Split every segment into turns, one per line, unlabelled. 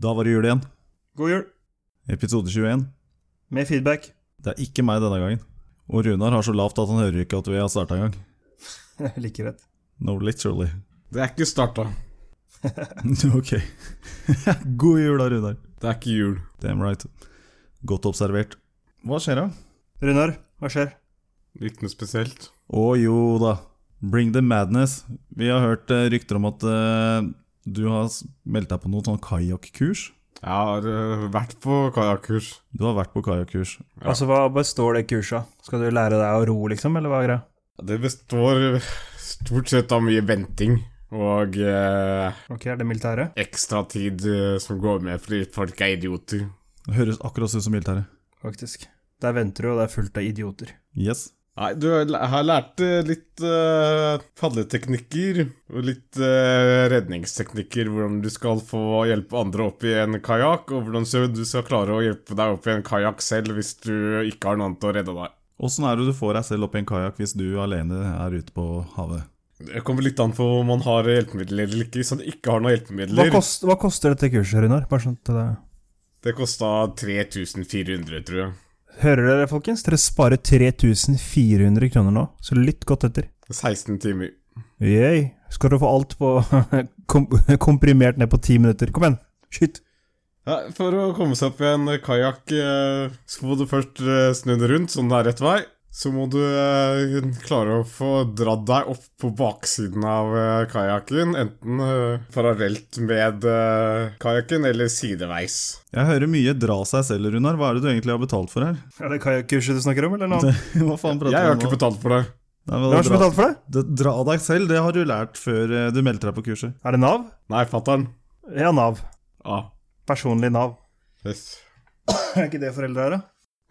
Da var det jul igjen.
God jul,
Episode 21.
med feedback.
Det er ikke meg denne gangen. Og Runar har så lavt at han hører ikke at vi har starta engang.
like rett.
No, literally.
Det er ikke starta.
ok. God jul da, Runar.
Det er ikke jul.
Damn right. Godt observert. Hva skjer da?
Runar, hva skjer?
Ikke noe spesielt.
Å jo da. Bring the madness. Vi har hørt eh, rykter om at eh, du har s- meldt deg på noe sånn kajakkurs.
Jeg har øh, vært på kajakkurs.
Du har vært på kajakkurs.
Ja.
Altså, Hva består det kurset av? Skal du lære deg å ro, liksom, eller hva er greia?
Det består stort sett av mye venting og eh,
Ok, er det militæret?
ekstra tid eh, som går med fordi folk er idioter.
Det høres akkurat ut som militæret.
Faktisk. Der venter du, og det er fullt av idioter.
Yes.
Nei, du jeg har lært eh, litt eh, padleteknikker og litt eh, redningsteknikker. Hvordan du skal få hjelpe andre opp i en kajakk, og hvordan så du skal klare å hjelpe deg opp i en kajakk selv hvis du ikke har noen til å redde deg.
Åssen er det du får deg selv opp i en kajakk hvis du alene er ute på havet?
Det kommer litt an på om man har hjelpemidler eller ikke. Hvis man ikke har noen
Hva,
hjelpemidler
kost, hva koster dette kurset, Runar? Bare sånn til deg.
Det kosta 3400, tror jeg.
Hører dere, folkens? Dere sparer 3400 kroner nå, så lytt godt etter.
16 timer.
Yay. Skal du få alt på kom, komprimert ned på ti minutter. Kom igjen, skyt.
Ja, for å komme seg opp i en kajakk, eh, så må du først eh, snu den rundt, sånn det er rett vei. Så må du eh, klare å få dratt deg opp på baksiden av eh, kajakken. Enten eh, parallelt med eh, kajakken eller sideveis.
Jeg hører mye dra seg selv, Runar. Hva er det du egentlig har betalt for her?
Er det kajakkurset du snakker om, eller noe?
Hva faen prater
Jeg
du
har
om
ikke
nå?
betalt for det.
Nei, men
Hvem har som
dra,
betalt for det?
det, dra deg selv, det har du lært før eh, du meldte deg på kurset.
Er det Nav?
Nei, fatter'n.
Ja, Nav.
Ah,
Personlig Nav.
yes.
Er ikke det foreldre er, da?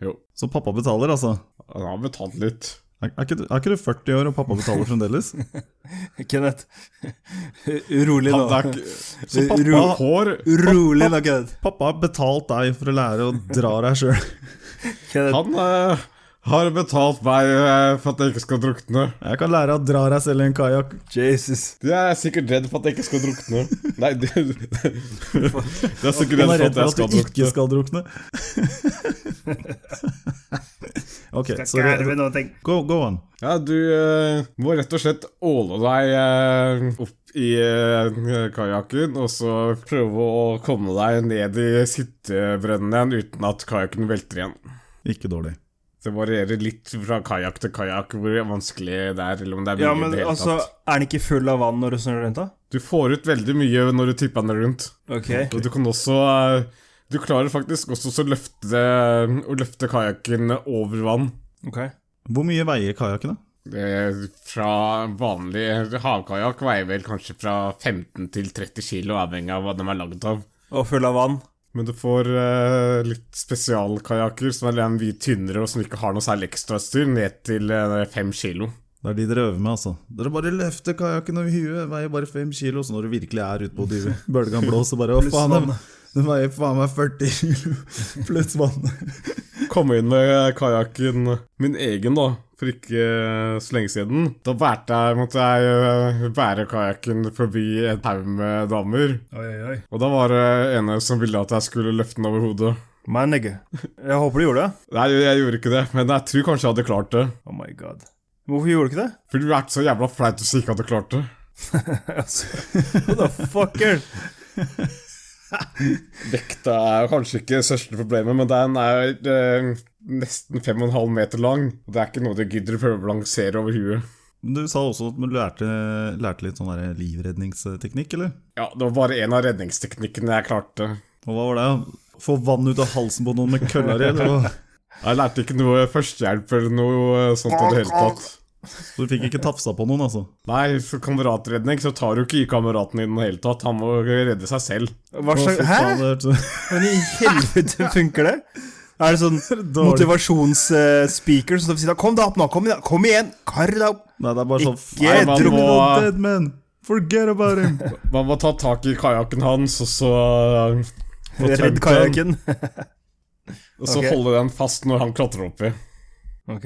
Jo.
Så pappa betaler, altså.
Han har betalt litt.
Er, er, ikke, du- er ikke du 40 år og pappa betaler fremdeles?
Kenneth. Urolig
Han, det
nå.
er ikke...
Så pappa,
Ro-
Hår
Urolig nå, Kenneth.
pappa har betalt deg for å lære å dra deg sjøl.
Kenneth.
Han eh, har betalt meg eh, for at jeg ikke skal drukne.
Jeg kan lære å dra deg selv i en kajakk.
Jesus.
De er sikkert redd for at jeg ikke skal drukne. Nei, de, de er sikkert
Han
redd
er
for
redd
at jeg
for
skal
at du ikke
drukne.
skal drukne. Ok, så det-
noen ting.
go, go on.
Ja, du eh, må rett og slett åle deg eh, opp i uh, kajakken, og så prøve å komme deg ned i sittebrønnen igjen uten at kajakken velter igjen.
Ikke dårlig.
Det varierer litt fra kajakk til kajakk hvor vanskelig det er, eller om det er mye
Ja,
i
men
det hele
altså,
tatt.
er den ikke full av vann når du snur rundt, da?
Du får ut veldig mye når du tipper den rundt.
Ok.
Og du kan også eh, Du klarer faktisk også å løfte, å løfte kajakken over vann.
ok.
Hvor mye veier kajakken, da?
Det er fra vanlig havkajakk veier vel kanskje fra 15 til 30 kilo, avhengig av hva de er lagd av.
Og full av vann.
Men du får eh, litt spesialkajakker som er mye tynnere og som ikke har noe særlig ekstrautstyr, ned til eh, 5 kilo.
Det er de dere øver med, altså. Dere bare løfter kajakken over huet, veier bare fem kilo, så når du virkelig er ute på dyret, bølgen blåser bare Å, faen, den, den veier faen meg 40 kilo, pluss vann.
Kom inn med kajakken min egen, da, for ikke så lenge siden. Da bærte jeg, måtte jeg eh, bære kajakken forbi en haug med damer.
Oi, oi, oi.
Og da var det ene som ville at jeg skulle løfte den over hodet.
Man, nigga. Jeg håper du gjorde det.
Nei, jeg gjorde ikke det, men jeg tror kanskje jeg hadde klart det.
Oh my god. Hvorfor gjorde du ikke det?
For det vært så jævla flaut hvis jeg ikke hadde klart det.
Altså, What the fucker?
Vekta er kanskje ikke største problemet, men den er eh, nesten 5,5 meter lang. Og det er ikke noe du gidder å prøve å balansere over huet.
Men Du sa også at du lærte, lærte litt sånn der livredningsteknikk, eller?
Ja, det var bare en av redningsteknikkene jeg klarte.
Og hva var det? da? Få vann ut av halsen på noen med kølla di, eller hva?
Jeg lærte ikke noe førstehjelp eller noe eh, sånt i det hele tatt.
Så du fikk ikke tafsa på noen, altså?
Nei, for kameratredning så tar du ikke i kameraten din i det hele tatt. Han må redde seg selv.
Hva
Å,
slags
fy
Hæ?
faen, det hørtes-
Hvordan i helvete funker det? Er det sånn motivasjonsspeaker som står ved siden av Kom deg opp nå! Kom, igjen, kom igjen! Kar deg opp!
Nei, det er bare sånn
Ikke
"Fuck,
man
you're
må-
dead man! Forget about him!
Man må ta tak i kajakken hans, og så og
Redd
tømt den,
kajakken.
Og så
Ok.
holde den fast når han klatrer oppi.
Ok.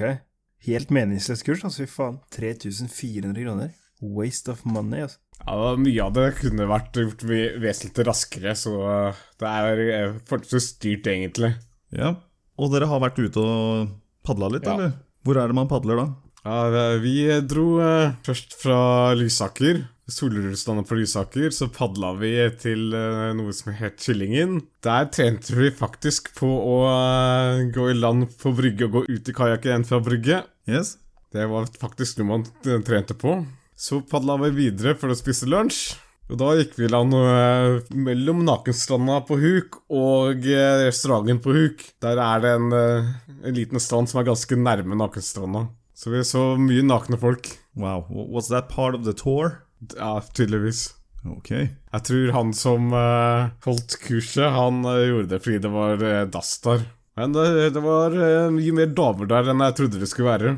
Helt meningsløst kurs, altså. Fy faen. 3400 kroner. Waste of money, altså.
Ja, det var Mye av det kunne vært gjort ve- vesentlig raskere, så eh, det er eh, forholdsvis styrt, egentlig.
Ja. Og dere har vært ute og padla litt,
Ja.
eller? Hvor er det man padler da?
Ja, det- Vi dro eh, først fra Lysaker. Solrullstanda på Lysaker, så padla vi til eh, noe som het Kyllingen. Der trente vi faktisk på å eh, gå i land på brygge og gå ut i kajakk igjen fra brygge.
Yes?
Det var faktisk noe man t- trente på. Så padla vi videre for å spise lunsj. Og da gikk vi i land eh, mellom Nakenstranda på Huk og eh, restauranten på Huk. Der er det en, eh, en liten strand som er ganske nærme Nakenstranda. Så vi så mye nakne folk.
Wow. Was that part of the tour?
Ja, tydeligvis.
Ok.
Jeg tror han som eh, holdt kurset, han eh, gjorde det fordi det var eh, dass der. Men det, det var eh, mye mer damer der enn jeg trodde det skulle være.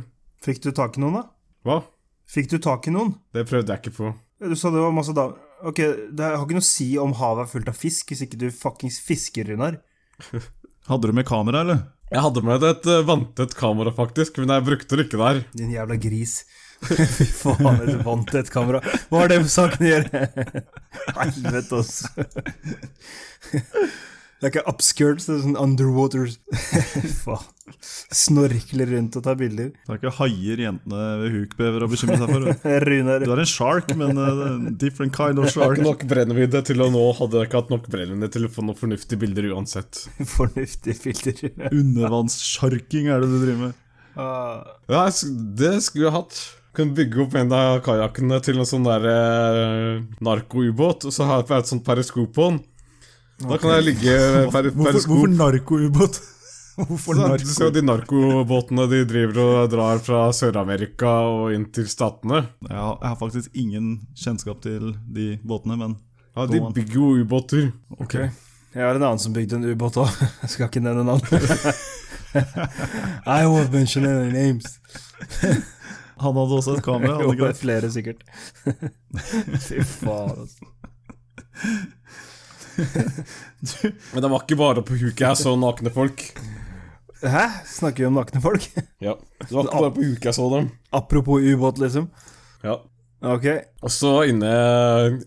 Fikk du tak i noen, da?
Hva?
Fikk du tak i noen?
Det prøvde jeg ikke på.
Du sa det var masse damer. Ok, det har ikke noe å si om havet er fullt av fisk, hvis ikke du fuckings fisker, Runar.
Hadde du med kamera, eller?
Jeg hadde med det et eh, vanntett kamera, faktisk, men jeg brukte det ikke der.
Din jævla gris. Fy faen, jeg vant et kamera. Hva har det med saken å gjøre? Helvete, altså. Det er ikke upskirts, det er sånn underwater Faen. Snorkler rundt og tar bilder.
Det er ikke haier jentene ved huk behøver å bekymre seg for.
Runar
Du er en shark, men uh, different kind of
Jeg har
shark.
ikke nok brennvidde til å nå hadde jeg ikke hatt nok brennvidde til å få noen fornuftige bilder uansett.
fornuftige filter.
Undervannssjarking er det du driver med.
Ah.
Ja, jeg sk- det skulle jeg hatt. Kunne bygge opp en av kajakkene til en sånn der eh, narkoubåt, og så har jeg et sånt periskop på den. Da kan jeg ligge med per,
Hvorfor,
periskop.
hvorfor narkoubåt? Hvorfor
Så Du ser jo
narko...
de narkobåtene de driver og drar fra Sør-Amerika og inn til statene.
Jeg har, jeg har faktisk ingen kjennskap til de båtene, men
Ja, De bygger jo ubåter.
ok.
Jeg har en annen som bygde en ubåt òg. Jeg skal ikke nevne navn. I won't mention any names.
Han hadde også et kamera,
Jo,
hadde
det
ikke
er
det?
flere, sikkert. Fy faen, altså.
Men det var ikke bare på huket jeg så nakne folk.
Hæ? Snakker vi om nakne folk?
Ja, Det var ikke bare på uka jeg så dem.
Apropos ubåt, liksom.
Ja.
Ok.
Og så inne,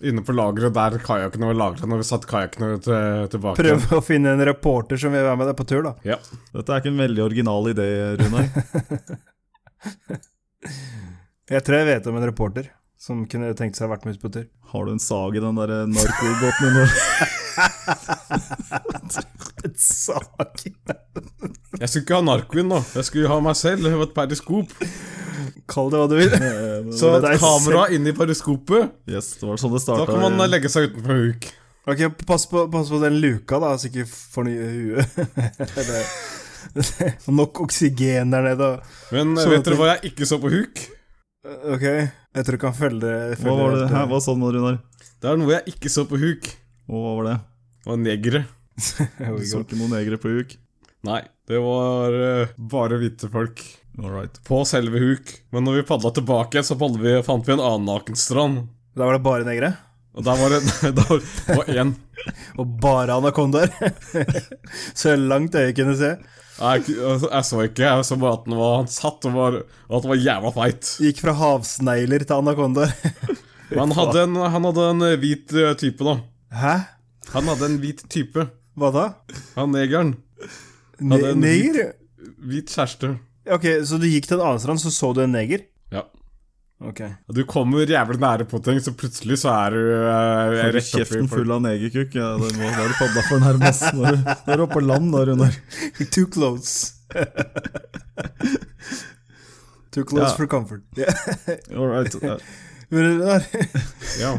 inne på lageret der kajakkene var lagret når vi satt kajakkene til, tilbake.
Prøv å finne en reporter som vil være med deg på tur, da.
Ja.
Dette er ikke en veldig original idé, Runar.
Jeg tror jeg vet om en reporter som kunne tenkt seg å vært med ut på tur.
Har du en sag i den der narkobåten din nå?
Et sak.
Jeg skulle ikke ha narkoen nå, jeg skulle ha meg selv og et periskop.
Kall det hva du vil.
Så
Det er
et kamera inn i periskopet,
Yes, det var sånn det
da
starta.
kan man eh, legge seg utenfor huk.
Ok, pass på, pass på den luka, da, så ikke får nye huet. Det- Nok oksygen der nede. og-
Men eh,
Så
vet
at
dere
vi-
hva jeg ikke så på huk?
Ok, jeg tror ikke han følger
Hva var det her? Hva sa du nå, Runar?
Det er noe jeg ikke så på huk.
Og hva var det?
Det var negere.
Du så ikke noen negere på huk?
Nei, det var eh, bare hvite folk.
All right.
På selve huk. Men når vi padla tilbake, så padlet vi, fant vi en annen nakenstrand.
Da var det bare negre?
Og der var det der var- var én.
Og bare anakondaer? så langt øyet kunne se.
Nei, Jeg, jeg så ikke, jeg så bare at den var, han satt og var, og at den var jævla feit.
Gikk fra havsnegler til anakondaer.
Men han hadde en, han hadde en eh, hvit eh, type, da.
Hæ?
Han hadde en hvit type.
Hva da?
Han negeren.
Ne
Hadde en
neger?
Hvit kjæreste.
Ok, så du gikk til en annen strand, så så du en neger?
Ja.
Ok.
Du kommer jævlig nære på ting, så plutselig så er du eh,
Har du
rett oppi
kjeften full av negerkukk? Ja, det må være padda for nærmest. Nå er du- nå er du oppe på land da, Runar.
Too close. Too close
Ja.
for comfort.
All right. Eh,
Men Runar,
Ja.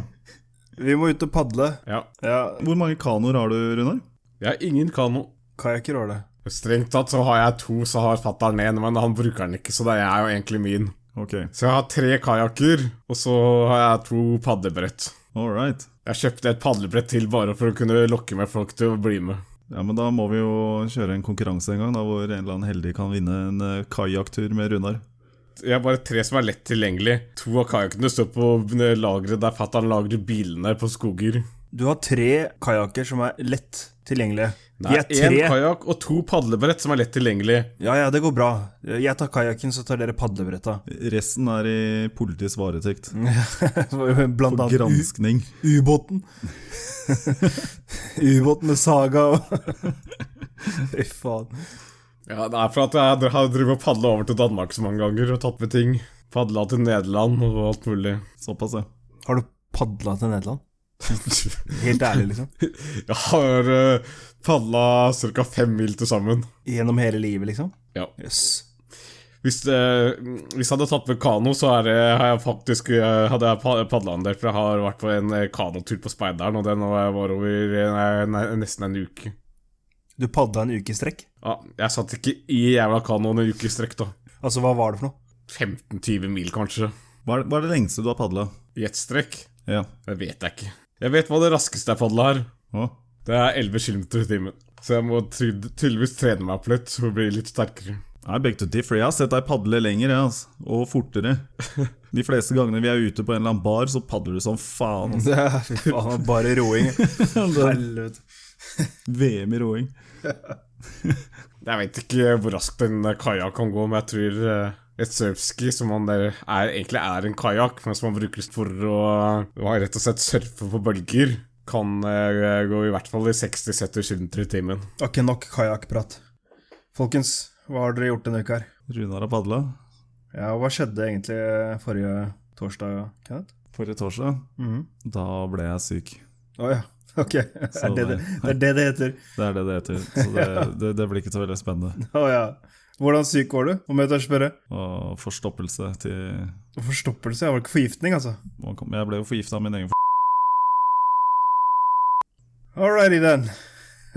vi må ut og padle.
ja.
Ja,
Hvor mange kanoer har du, Runar?
Jeg har ingen kano.
kajakker var det.
Strengt tatt så har jeg to, så har fatter'n én, men han bruker den ikke, så det er jo egentlig min.
Ok,
Så jeg har tre kajakker, og så har jeg to padlebrett.
all right.
Jeg kjøpte et padlebrett til bare for å kunne lokke med folk til å bli med.
Ja, men da må vi jo kjøre en konkurranse en gang, da, hvor en eller annen heldig kan vinne en eh, kajakktur med Runar.
Jeg har bare tre som er eh, lett tilgjengelig. To av kajakkene står på lageret der fatter'n lagrer bilene på skoger.
Du har tre kajakker som er lett tilgjengelige.
Nei,
De er tre.
én kajakk og to padlebrett som er lett tilgjengelig.
Ja, ja, det går bra. Jeg tar kajakken, så tar dere padlebretta.
Resten er i politiets varetekt.
Blant
For
annet u-
granskning.
ubåten. Ubåten med saga og Fy faen.
Ja, Det er for at jeg har drevet og padla over til Danmark så mange ganger og tatt med ting. Padla til Nederland og alt mulig.
Såpass, ja.
Har du padla til Nederland? Helt ærlig, liksom.
Jeg har uh, padla ca. fem mil til sammen.
Gjennom hele livet, liksom?
Ja.
Jøss.
Hvis, eh, hvis jeg hadde tatt med kano, så er det, har jeg faktisk, eh, hadde jeg padla en del. For jeg har vært på en eh, kanotur på Speideren, og den var over eh, nei, nesten en uke.
Du padla en uke i strekk?
Ja, jeg satt ikke i jævla kanoen en uke i strekk, da.
Altså, hva var det for noe?
15-20 mil, kanskje.
Hva er, hva er det lengste du har padla?
I ett strekk.
Ja.
Det vet jeg ikke. Jeg vet hva det raskeste jeg padla her.
Å,
Det er 11 km i timen. Så jeg må ty- tydeligvis trene meg opp litt for å bli litt sterkere.
I beg to differ. Jeg har sett deg padle lenger, jeg, altså. Og fortere. De fleste gangene vi er ute på en eller annen bar, så padler du som faen. Altså.
Det er fy faen, bare roing. Helvete.
VM i roing.
Jeg vet ikke hvor raskt en kajakk kan gå, men jeg tror eh, et surfski, som man der er, egentlig er en kajakk, men som man bruker for å eh, rett og slett surfe på bølger, kan eh, gå i hvert fall i 60-70 km i timen.
Ok, nok kajakkprat. Folkens, hva har dere gjort denne uka her?
Runar har padla
Ja, og hva skjedde egentlig eh, forrige torsdag, Kenneth?
forrige torsdag.
Mhm.
Da ble jeg syk.
Å ja, ok. Det er det det, det er det det heter.
Det er det det heter. Så det, det, det blir ikke så veldig spennende.
Å ja. Hvordan syk var du, om jeg tør spørre?
Og forstoppelse til
Forstoppelse? Jeg var ikke forgiftning, altså.
man kom- Jeg ble jo forgifta av min egen
Alrighty then.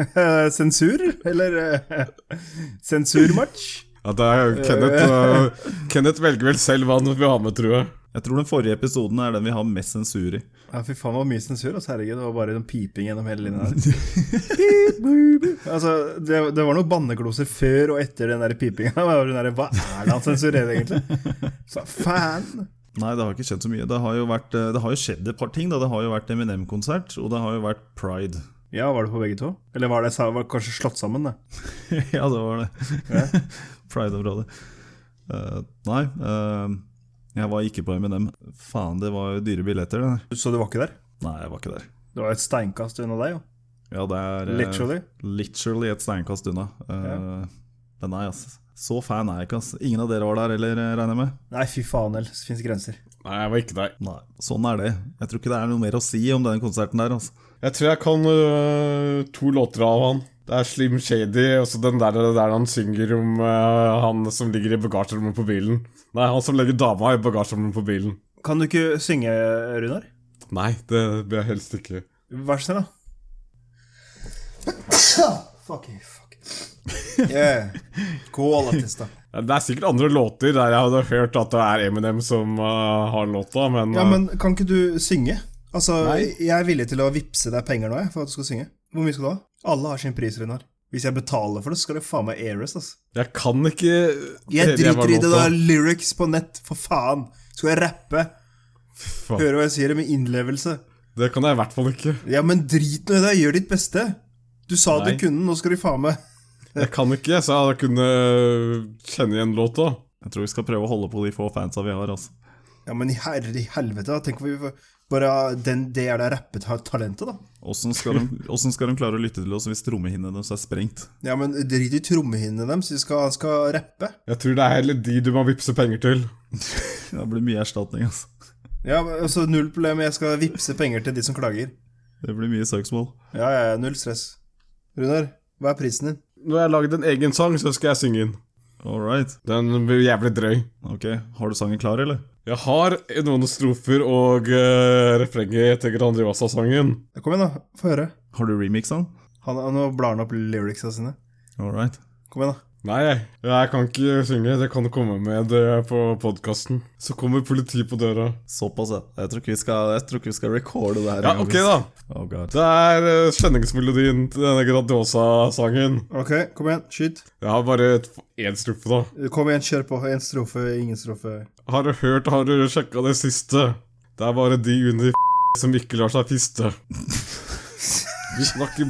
Sensur, eller eh, sensurmatch?
Ja, det er Kenneth, eh, Kenneth velger vel selv hva han vil ha med, tror jeg.
Jeg tror den forrige episoden er den vi har mest sensur i.
Ja, fy faen, det var mye sensur. Altså, herregud, det var bare noen piping gjennom hele linja der. Pip, boop. altså, det, det var noen bannekloser før og etter den der pipinga. Det var den der, Hva er det han sensurerer, egentlig? Så, faen!
Nei, det har ikke skjedd så mye. Det har jo, vært, eh, det har jo skjedd et par ting. Da. Det har jo vært Eminem-konsert, og det har jo vært Pride.
Ja, var det på begge to? Eller var det, var det kanskje slått sammen, det?
ja, det var det. Pride-området. Eh, nei, eh, jeg var ikke på Eminem. Faen, det var jo dyre billetter, det der.
Så du var ikke der?
Nei, jeg var ikke der.
Det var et steinkast unna deg, jo.
Ja, det er eh,
Literally.
literally et steinkast unna. Eh, Men nei, ass. Så fan er jeg ikke, ass. Ingen av dere var der heller, eh, regner jeg med?
Nei, fy faen heller, det fins grenser.
Nei, jeg var ikke der.
Nei. Sånn er det. Jeg tror ikke det er noe mer å si om den konserten der, altså.
Jeg tror jeg kan øh, to låter av han. Det er Slim Shady, og så den der, der han synger om øh, han som ligger i bagasjerommet på bilen. Nei, han som legger dama i bagasjerommet på bilen.
Kan du ikke synge, Runar?
Nei, det blir jeg helst ikke.
Vær så snill, da. fuck you, fuck you. Yeah. Skål, Attista.
Det er sikkert andre låter der jeg hadde hørt at det er Eminem som øh, har låta, men,
Ja,
øh,
men kan ikke du synge? Altså, jeg er villig til å vippse deg penger nå, jeg, for at du skal synge. Hvor mye skal du ha? Alle har sin pris, Runar. Hvis jeg betaler for det, så skal det faen meg aires, altså.
eh, jeg kan ikke
Jeg
høre hva
driter i det,
låta-
da. Lyrics på nett, for faen. Skal jeg rappe?
faen.
Høre hva jeg sier, med innlevelse.
Det kan jeg i hvert fall ikke.
Ja, men drit nå i det. Gjør ditt beste. Du sa
Nei.
du kunne, nå skal du faen meg
Jeg kan ikke, så jeg kunne kjenne igjen låta.
Jeg tror vi skal prøve å holde på de få fansa vi har, altså.
Ja, men i herre i helvete, da. Tenk om vi får- bare den, det er det rappet har talentet, da.
Åssen skal, de- hvordan skal de klare å lytte til oss hvis trommehinnene deres er sprengt?
Ja, men drit i trommehinnene deres, de skal, han skal rappe.
Jeg tror det er heller de du må vippse penger til.
Det blir mye erstatning, altså.
Ja, men altså null problem, jeg skal vippse penger til de som klager.
Det blir mye søksmål.
Ja, ja, ja, null stress. Runar, hva er prisen din?
Når jeg har laget en egen sang, så skal jeg synge den.
All right.
Den blir jævlig drøy.
Ok, har du sangen klar, eller?
Jeg har noen strofer og eh, refrenget til Grand Rivasa-sangen.
Ja, Kom igjen, da. Få høre.
Har du remixa den?
Han, han, nå blar han opp lyricsa sine.
All right.
Kom igjen, da.
Nei, jeg kan ikke synge. Det kan komme med eh, på podkasten. Så kommer politiet på døra.
Såpass, ja. Jeg tror ikke vi skal, jeg tror ikke vi skal recorde det her.
Ja,
en gang,
ok,
hvis-
da.
Oh god.
Det er eh, kjenningsmelodien til denne Grandiosa-sangen.
Ok, kom igjen. Skyt.
Jeg har bare et- én strofe, da.
Kom igjen, kjør på. En strofe, ingen strofe.
Har du hørt, har du sjekka det siste? Det er bare de under som ikke lar seg fiste. Vi snakker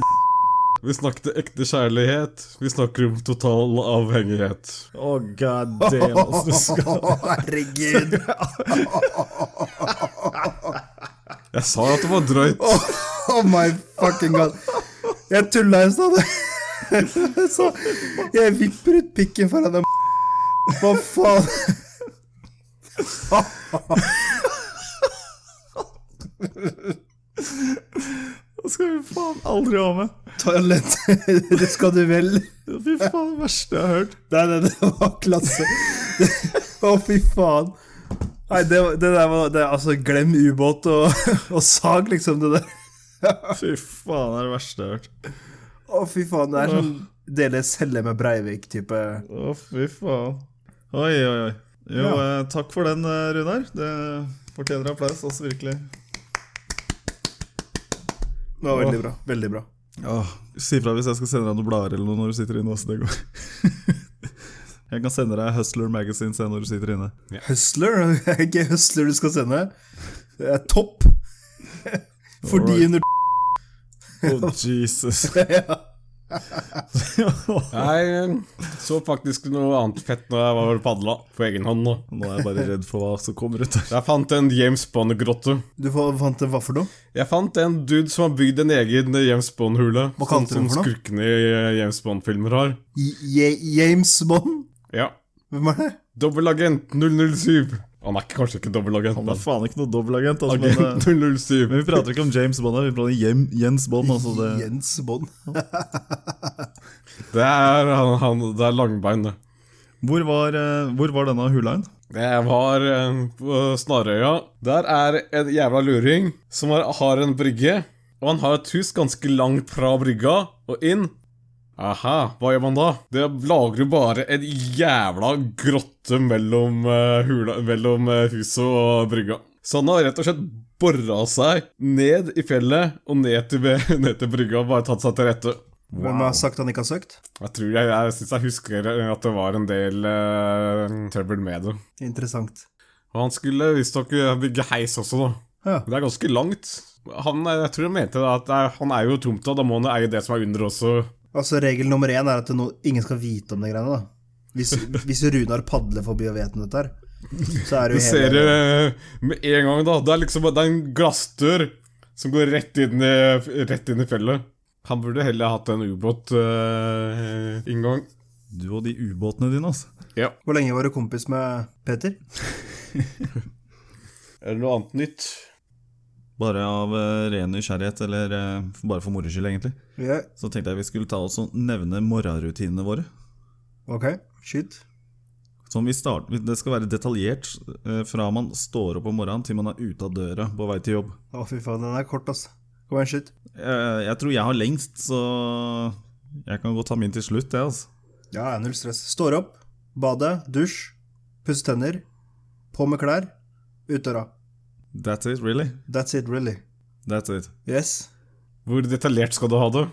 b***. Vi snakket ekte kjærlighet. Vi snakker om total avhengighet.
Oh, god damn. altså, du skal-
herregud!
Jeg sa jo at det var drøyt.
Oh my fucking god. Jeg tulla i stad. Så jeg vipper ut pikken foran den Hva faen?
Det skal vi faen aldri ha med.
Toalett. Det skal du vel.
Fy faen, det verste jeg har hørt.
Nei, nei, det var klasse. Å, fy faen. Nei, det, var- det der var det, Altså, glem ubåt og, og sag, liksom, det der.
Fy faen, det er det verste jeg har hørt.
Å, fy faen. Det er sånn dele celle med Breivik-type.
Å, fy faen. Oi, oi, oi. Jo,
Ja.
eh, takk for den, eh, Runar. Det fortjener applaus, altså virkelig.
Det var veldig bra. Veldig bra.
Ja, Si fra hvis jeg skal sende deg noen blader eller noe når du sitter inne. Også, det går. jeg kan sende deg Hustler Magazine se når du sitter inne.
Hustler? Det er ikke Hustler du skal sende. Det er topp. Fordi
Alright.
under
Oh, Jesus.
ja.
Jeg eh, så faktisk noe annet fett når jeg var og padla på egen hånd. nå.
Nå er jeg bare redd for hva som kommer ut der.
Jeg fant en James Bond-grotte.
Du fa- fant hva for noe?
Jeg fant en dude som har bygd en egen James Bond-hule.
Hva
Sånn
kalte du den
som
for noe?
skurkene i eh, James Bond-filmer har.
J James Bond?
Ja.
Hvem er det?
Dobbelagent 007. Han er ikke, kanskje ikke dobbelagent,
Han er
men
faen ikke noen dobbelagent. Altså, men,
agent
eh,
007.
men vi prater ikke om James Bond, her, vi prater om Jem, Jens Bond. Altså det.
Jens Bond.
Det er, han, han, det er langbein, det.
Hvor, var, eh, hvor var denne hula hen?
Det var eh, på Snarøya. Der er en jævla luring som har, har en brygge. Og han har et hus ganske langt fra brygga og inn. Aha, hva gjør man da? Det lager jo bare en jævla grotte mellom, eh, hula, mellom eh, huset og brygga. Så han har rett og slett bora seg ned i fjellet og ned til, ned til brygga og bare tatt seg til rette.
Hvem har sagt han ikke har søkt?
Jeg tror jeg, jeg syns jeg husker at det var en del eh, trøbbel med det.
Interessant.
Og han skulle visstnok eh, bygge heis også, da.
Ja.
Det er ganske langt. Han, eh, jeg tror han mente da at det er- han er jo tomta, da må han eie det som er under også.
Altså, regel nummer én er at no ingen skal vite om de greiene, da. Hvis, hvis Runar padler forbi og vet om dette her, så er
Du
det jo
ser eh,
hele
det med en gang, da. Det er liksom det er en glassdør som går rett inn i, rett inn i fjellet. Han burde heller hatt en ubåtinngang.
Du og de ubåtene dine, altså.
ja.
Hvor lenge var du kompis med Peter?
Er det noe annet nytt?
Bare av eh, ren nysgjerrighet, eller eh, bare for moro skyld, egentlig.
Ja,
Så tenkte jeg vi skulle ta oss og nevne morgenrutinene våre.
ok. Skyt.
Som vi start, det skal være detaljert eh, fra man står opp om morgenen til man er ute av døra på vei til jobb.
Å, fy faen, den er kort, altså. Kom igjen, skyt.
Eh, Jeg tror jeg har lengst, så jeg kan godt ta min til slutt, jeg, altså.
Ja, ja, null stress. Står opp, bade, dusj, pusse tenner, på med klær, ut døra.
That's it, really?
That's it, really.
That's it.
Yes.
Hvor detaljert skal du ha det?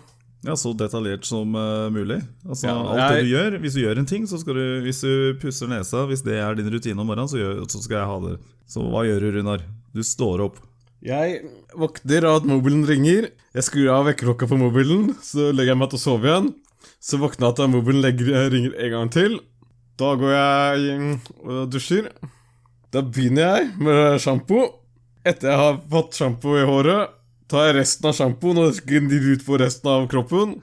Ja, så detaljert som eh, mulig. Altså,
Ja,
alt det
jeg-
du gjør, hvis du gjør en ting, så skal du Hvis du pusser nesa, hvis det er din rutine om morgenen, så, gjør, så skal jeg ha det. Så hva gjør du, Runar? Du står opp.
Jeg våkner av at mobilen ringer. Jeg skrur av vekkerklokka på mobilen, så legger jeg meg til å sove igjen. Så våkner jeg til at mobilen legger, ringer en gang til. Da går jeg mm, og dusjer. Da begynner jeg med sjampo. Etter jeg har fått sjampo i håret, tar jeg resten av sjampoen og gnir ut på resten av kroppen.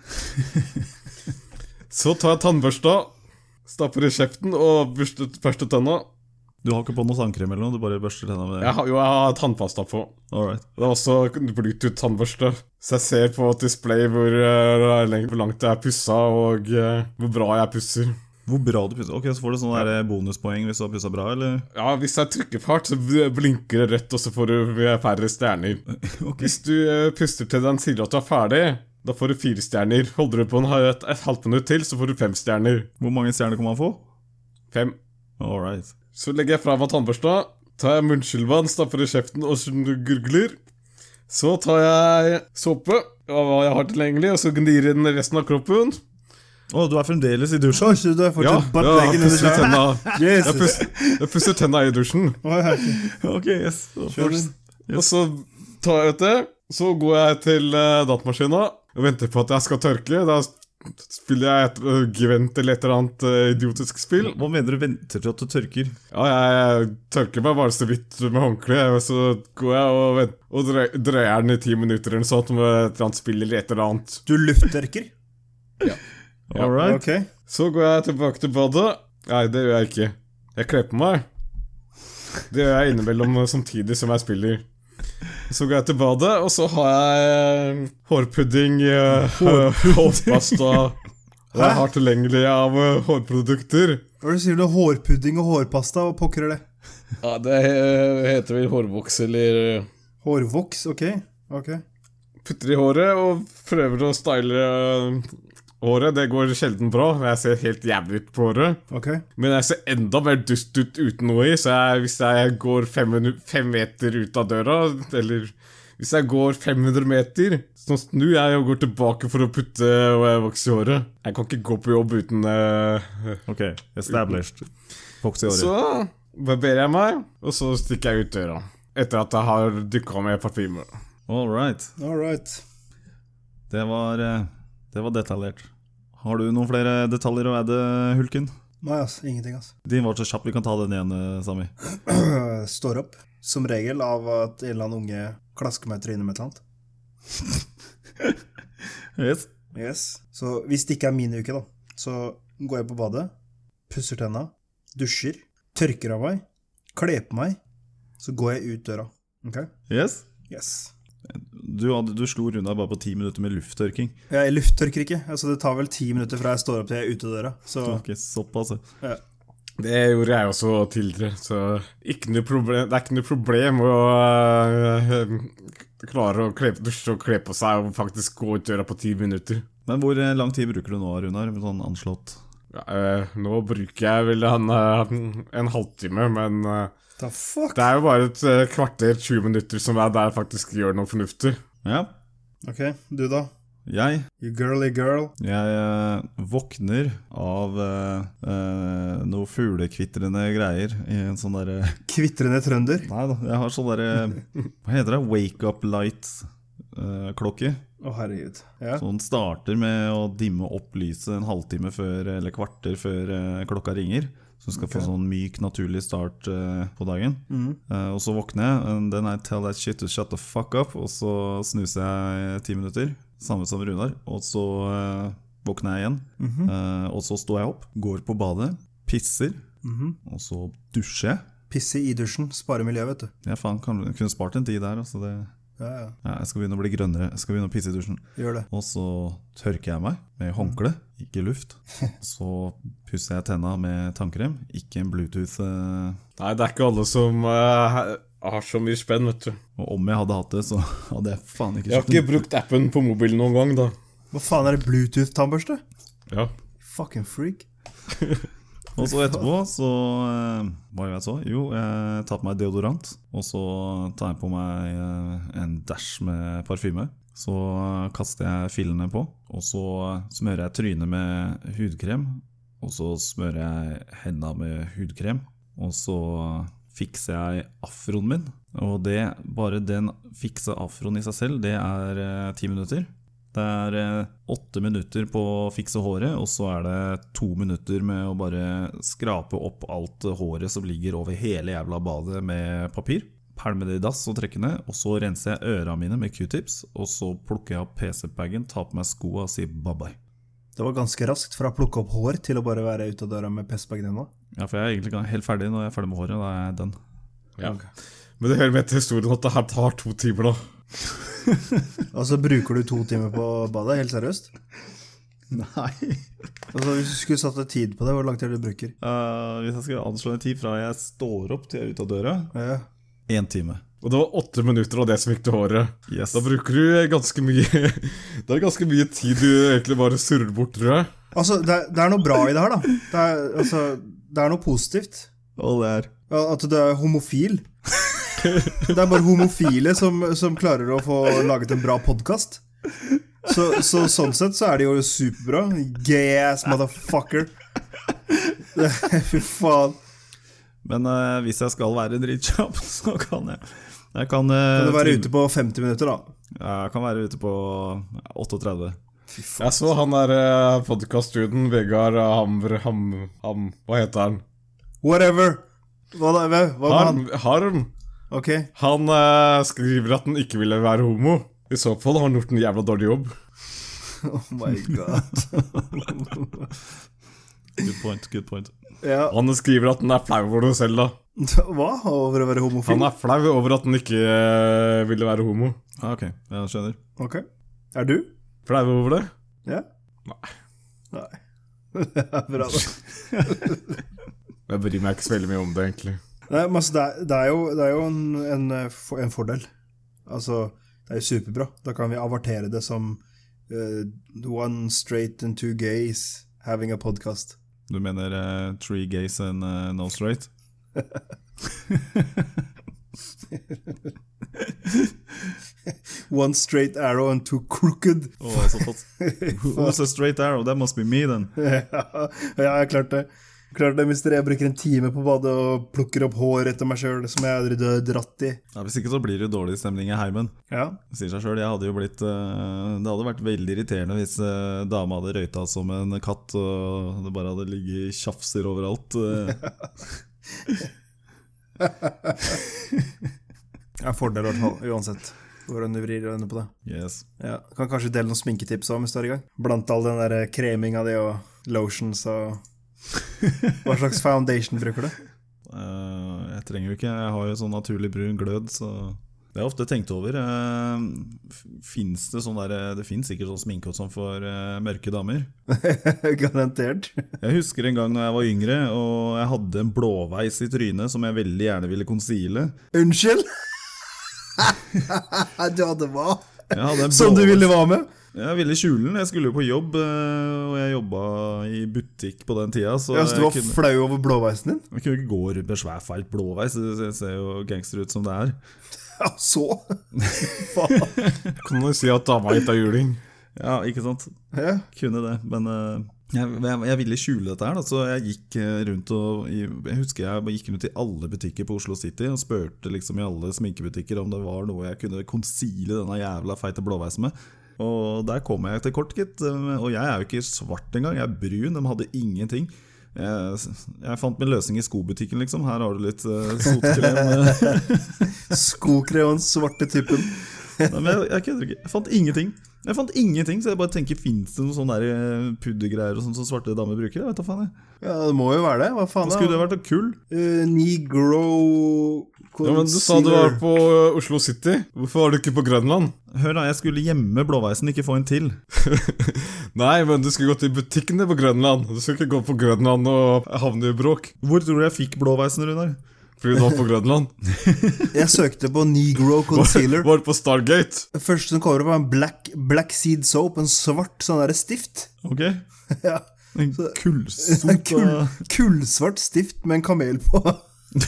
Så tar jeg tannbørsta, stapper i kjeften og børster, børster tenna.
Du har ikke på noe sandkrem eller noe, du bare børster tenna med
Jeg har, jo, jeg har tannpasta på.
All right.
Det er også Bluetooth-tannbørste. Så jeg ser på et display hvor, eh, leng- hvor langt jeg er pussa, og eh, hvor bra jeg pusser.
Hvor bra du pusser. Ok, Så får du sånne der eh, bonuspoeng hvis du har pussa bra, eller?
Ja, Hvis jeg trykker på hardt, så bl- blinker det rødt, og så får du eh, færre stjerner. Hvis du eh, puster til den sier at du er ferdig, da får du fire stjerner. Holder du på en, ha- et, et halvt minutt til, så får du fem stjerner.
Hvor mange stjerner kan man få?
Fem.
All right.
Så legger jeg fra meg tannbørsta, tar jeg munnskylvann, stapper i kjeften og sn- gurgler. Så tar jeg såpe, av hva jeg har tilgjengelig, og så gnir jeg den resten av kroppen.
Å, du er fremdeles i dusjen?
Oi, så du har
Ja,
fortsatt bare
jeg
leggen under
pusser
skjøret.
tenna. Jeg
Jesus.
pusser, jeg pusser tenna i dusjen.
Oi, herregud.
Ok, yes.
Kjør den.
Og så tar jeg dette, så går jeg til eh, datamaskina og venter på at jeg skal tørke. Da s- spiller jeg et eh, Gwent eller et eller annet eh, idiotisk spill.
Hva mener du venter til at du tørker?
Ja, jeg tørker meg bare så vidt med håndkle, og så går jeg og, vent- og dre- dreier den i ti minutter eller noe sånt med et eller annet spill eller et eller annet.
Du lufttørker?
Ja.
All right.
Ok.
Så går jeg tilbake til badet. Nei, det gjør jeg ikke. Jeg kler på meg. Det gjør jeg innimellom eh, samtidig som jeg spiller. Så går jeg til badet, og så har jeg eh, hårpudding, eh, hårpasta Og jeg har tilgjengelig av eh, hårprodukter.
Hva er det du sier du? Hårpudding og hårpasta? Hva pokker er det?
Ja, det eh, heter vel hårvoks eller eh,
Hårvoks? Ok. ok.
Putter i håret og prøver å style eh, håret. Det går sjelden bra. Jeg ser helt jævlig ut på håret.
ok.
Men jeg ser enda mer dust ut uten noe i, så jeg, hvis jeg går fem, minu- fem meter ut av døra, eller hvis jeg går 500 meter, så snur jeg og går tilbake for å putte og jeg vokser i håret. Jeg kan ikke gå på jobb uten eh,
Ok, established. Fox i
Så
året.
barberer jeg meg, og så stikker jeg ut døra. Etter at jeg har dukka med parfyme.
All right.
All right.
Det var, eh, det var detaljert. Har du noen flere detaljer å adde, Hulken?
Nei, ass. Ingenting, ass.
Din var så kjapp, vi kan ta den igjen, eh, Sami.
Står opp. Som regel av at en eller annen unge klasker meg i trynet med et eller annet.
Yes.
Yes. Så hvis det ikke er min uke, da, så går jeg på badet, pusser tenna, dusjer, tørker av meg, kler på meg, så går jeg ut døra. Ok?
yes.
Yes.
Du, hadde, du slo runda bare på ti minutter med lufttørking.
Jeg lufttørker ikke, altså det tar vel ti minutter fra jeg står opp til jeg er ute døra. Så
Ok, såpass. ja.
Det gjorde jeg også tidligere, så ikke noe problem, det er ikke noe problem å eh, klare å kle, dusje og kle på seg og faktisk gå ut døra på ti minutter.
Men hvor eh, lang tid bruker du nå, Runar? Sånn anslått.
Ja, eh, nå bruker jeg vel en, eh, en halvtime, men eh,
the fuck?
det er jo bare et eh, kvarter, 20 minutter som er der jeg faktisk gjør noe fornuftig.
Ja.
Ok, du da?
Jeg
You girly girl.
Jeg eh, våkner av eh, eh, noe fuglekvitrende greier i en sånn derre
Kvitrende trønder.
Nei da, jeg har sånn derre Hva heter det? Wake up eh, light-klokke.
Å, herregud. Ja.
så den starter med å dimme opp lyset en halvtime før, eller kvarter før eh, klokka ringer. Så du skal få sånn myk, naturlig start eh, på dagen.
Mm.
Eh, og så våkner jeg, and then I tell that shit to shut the fuck up, og så snuser jeg eh, ti minutter. Samme som Runar. Og så eh, våkner jeg igjen. Eh, og så står jeg opp, går på badet, pisser, og så dusjer jeg.
Pisse i dusjen, spare miljøet, vet du.
Ja, faen, kan, kunne spart en tid der. Altså det,
Ja, ja.
ja, jeg skal begynne å bli grønnere. Jeg skal begynne å pisse i dusjen.
Gjør det.
Og så tørker jeg meg med håndkle, ikke luft. Så pusser jeg tenna med tannkrem, ikke en Bluetooth. eh,
Nei, det er ikke alle som eh, har så mye spenn, vet du.
Og om jeg hadde hatt det, så hadde jeg faen ikke
Jeg har
kjøpt den.
ikke brukt appen på mobilen noen gang, da.
Hva faen er det Bluetooth-tannbørste?
Ja.
Fucking freak.
Og så etterpå, så eh, Hva gjør jeg så? Jo, jeg tar på meg deodorant. Og så tar jeg på meg eh, en dæsj med parfyme. Så eh, kaster jeg fillene på, og så smører jeg trynet med hudkrem. Og så smører jeg henda med hudkrem. Og så fikser jeg afroen min. Og det, bare den fikse afroen i seg selv, det er eh, ti minutter. Det er eh, åtte minutter på å fikse håret, og så er det to minutter med å bare skrape opp alt håret som ligger over hele jævla badet med papir. Pælme det i dass og trekke ned, og så renser jeg øra mine med q-tips. Og så plukker jeg opp PC-bagen, tar på meg skoa og sier bye-bye.
Det var ganske raskt fra å plukke opp hår til å bare være ute av døra med pestbagen ennå.
Ja, for jeg er egentlig ikke helt ferdig når jeg er ferdig med håret. Da er jeg done.
ja. Men det hører med til historien at det her tar to timer, da.
Og så bruker du to timer på badet, helt seriøst?
Nei.
Altså, hvis du skulle satt deg tid på det, hvor lang tid du bruker?
Eh, hvis jeg skal anslå en tid fra jeg står opp til jeg er ute av døra
Ja.
Én time.
Og det var åtte minutter av det som gikk til håret.
Yes.
Da bruker du eh, ganske mye Det er ganske mye tid du egentlig bare surrer bort, tror jeg.
Altså, det er, det er noe bra i det her, da. Det er, altså, det er noe positivt.
Og det er
Ja, At du er homofil. Det er bare homofile som, som klarer å få laget en bra podkast. Så, så sånn sett så er det jo superbra. Gay ass motherfucker. Det, fy faen.
Men eh, hvis jeg skal være dritkjapp, så kan jeg Jeg kan, eh,
Kan du være
trim-
ute på 50 minutter, da?
Ja, jeg kan være ute på 38.
Jeg så han der eh, podcast-duden, Vegard Hamr... Ham, ham... Hva heter han?
Whatever! Hva da? Hva, hva med han?
Harm. Harm.
Ok.
Han eh, skriver at han ikke ville være homo. I så fall har han gjort en jævla dårlig jobb.
Oh my god.
Good point. good point
Ja.
Han skriver at han er flau over det selv, da.
Hva? Over å være homofil?
Han er flau over at han ikke eh, ville være homo.
ah, Ok, jeg skjønner.
Ok. Er du?
Flau over det?
Ja?
Nei.
Nei. Det er Bra, da.
Jeg bryr meg ikke så veldig mye om det, egentlig.
Nei, men altså, det, er, det er jo, det er jo en, en, eh, for- en fordel. Altså, det er jo superbra. Da kan vi avertere det som eh, One straight and two gays having a podcast.
Du mener eh, three gays and eh, no straight?
One straight arrow and two crooked.
Å, såpass. Who's a straight arrow? That must be me, then.
ja, jeg klarte det. Klart det, mister. Jeg bruker en time på badet og plukker opp hår etter meg sjøl som jeg aldri har dratt i.
Ja, hvis ikke så blir det jo dårlig stemning i heimen.
Ja.
Det sier seg selv, jeg hadde jo blitt eh, Det hadde vært veldig irriterende hvis eh, dama hadde røyta som en katt og det bare hadde ligget tjafser overalt. eh.
Det er en fordel i hvert fall, uansett hvordan du vrir og vender på det.
Yes.
Ja, Kan kanskje dele noen sminketips òg, mens du er i gang. Blant all den der kreminga di og lotions og Hva slags foundation bruker du?
Eh, jeg trenger jo ikke Jeg har jo sånn naturlig brun glød, så Det har jeg ofte tenkt over. Uh, fins det sånn der Det fins sikkert sånn sminke og sånn for eh, mørke damer.
Garantert.
Jeg husker en gang når jeg var yngre og jeg hadde en blåveis i trynet som jeg veldig gjerne ville conceale.
Unnskyld? du hadde hva?
Jeg hadde en
Som du
blåveis-
ville hva med?
Jeg ville skjule den. Jeg skulle jo på jobb, eh, og jeg jobba i butikk på den tida. Så
Ja, så du var
jeg, kunne,
flau over blåveisen din?
jeg kunne ikke gå rundt med svær, feit blåveis. Det ser- ser jo gangster ut som det er.
Ja, så?
Kan du si at dama gitt er juling?
Ja, ikke sant?
Ja.
Kunne det, men eh, jeg, jeg, jeg ville skjule dette her, da, så jeg gikk eh, rundt og i- Jeg husker jeg bare gikk rundt i alle butikker på Oslo City og spurte liksom i alle sminkebutikker om det var noe jeg kunne conceale denne jævla feite blåveisen med. Og der kom jeg til kort, gitt. eh, Og jeg er jo ikke svart engang, jeg er brun. De hadde ingenting. Jeg, jeg fant min løsning i skobutikken, liksom. Her har du litt eh, sotkrem. eh.
Skokreon, svarte typen.
Nei, men jeg, jeg kødder ikke. Jeg fant ingenting. Jeg fant ingenting, Så jeg bare tenker, fins det noen sånne der, eh, puddergreier og sånn som svarte damer bruker? Jeg vet da faen, jeg.
Ja, det må jo være det. Hva faen?
Da
da?
skulle det vært noe kull.
Eh, Negro
Ja, men du sa du var på ø, Oslo City. Hvorfor var du ikke på Grønland?
Hør da, jeg skulle gjemme blåveisen, ikke få en til.
Nei, men du skulle gått i butikkene på Grønland. Du skulle ikke gå på Grønland og havne i bråk
Hvor tror du jeg fikk blåveisen, Runar?
fordi du var på Grønland.
Jeg søkte på Negro Concealer.
Var på Stargate.
Det første som kommer opp, er en black, black seed soap. En svart sånn derre stift.
Ok?
Ja.
En
En
kullsot
kull,
av
kullsvart stift med en kamel på.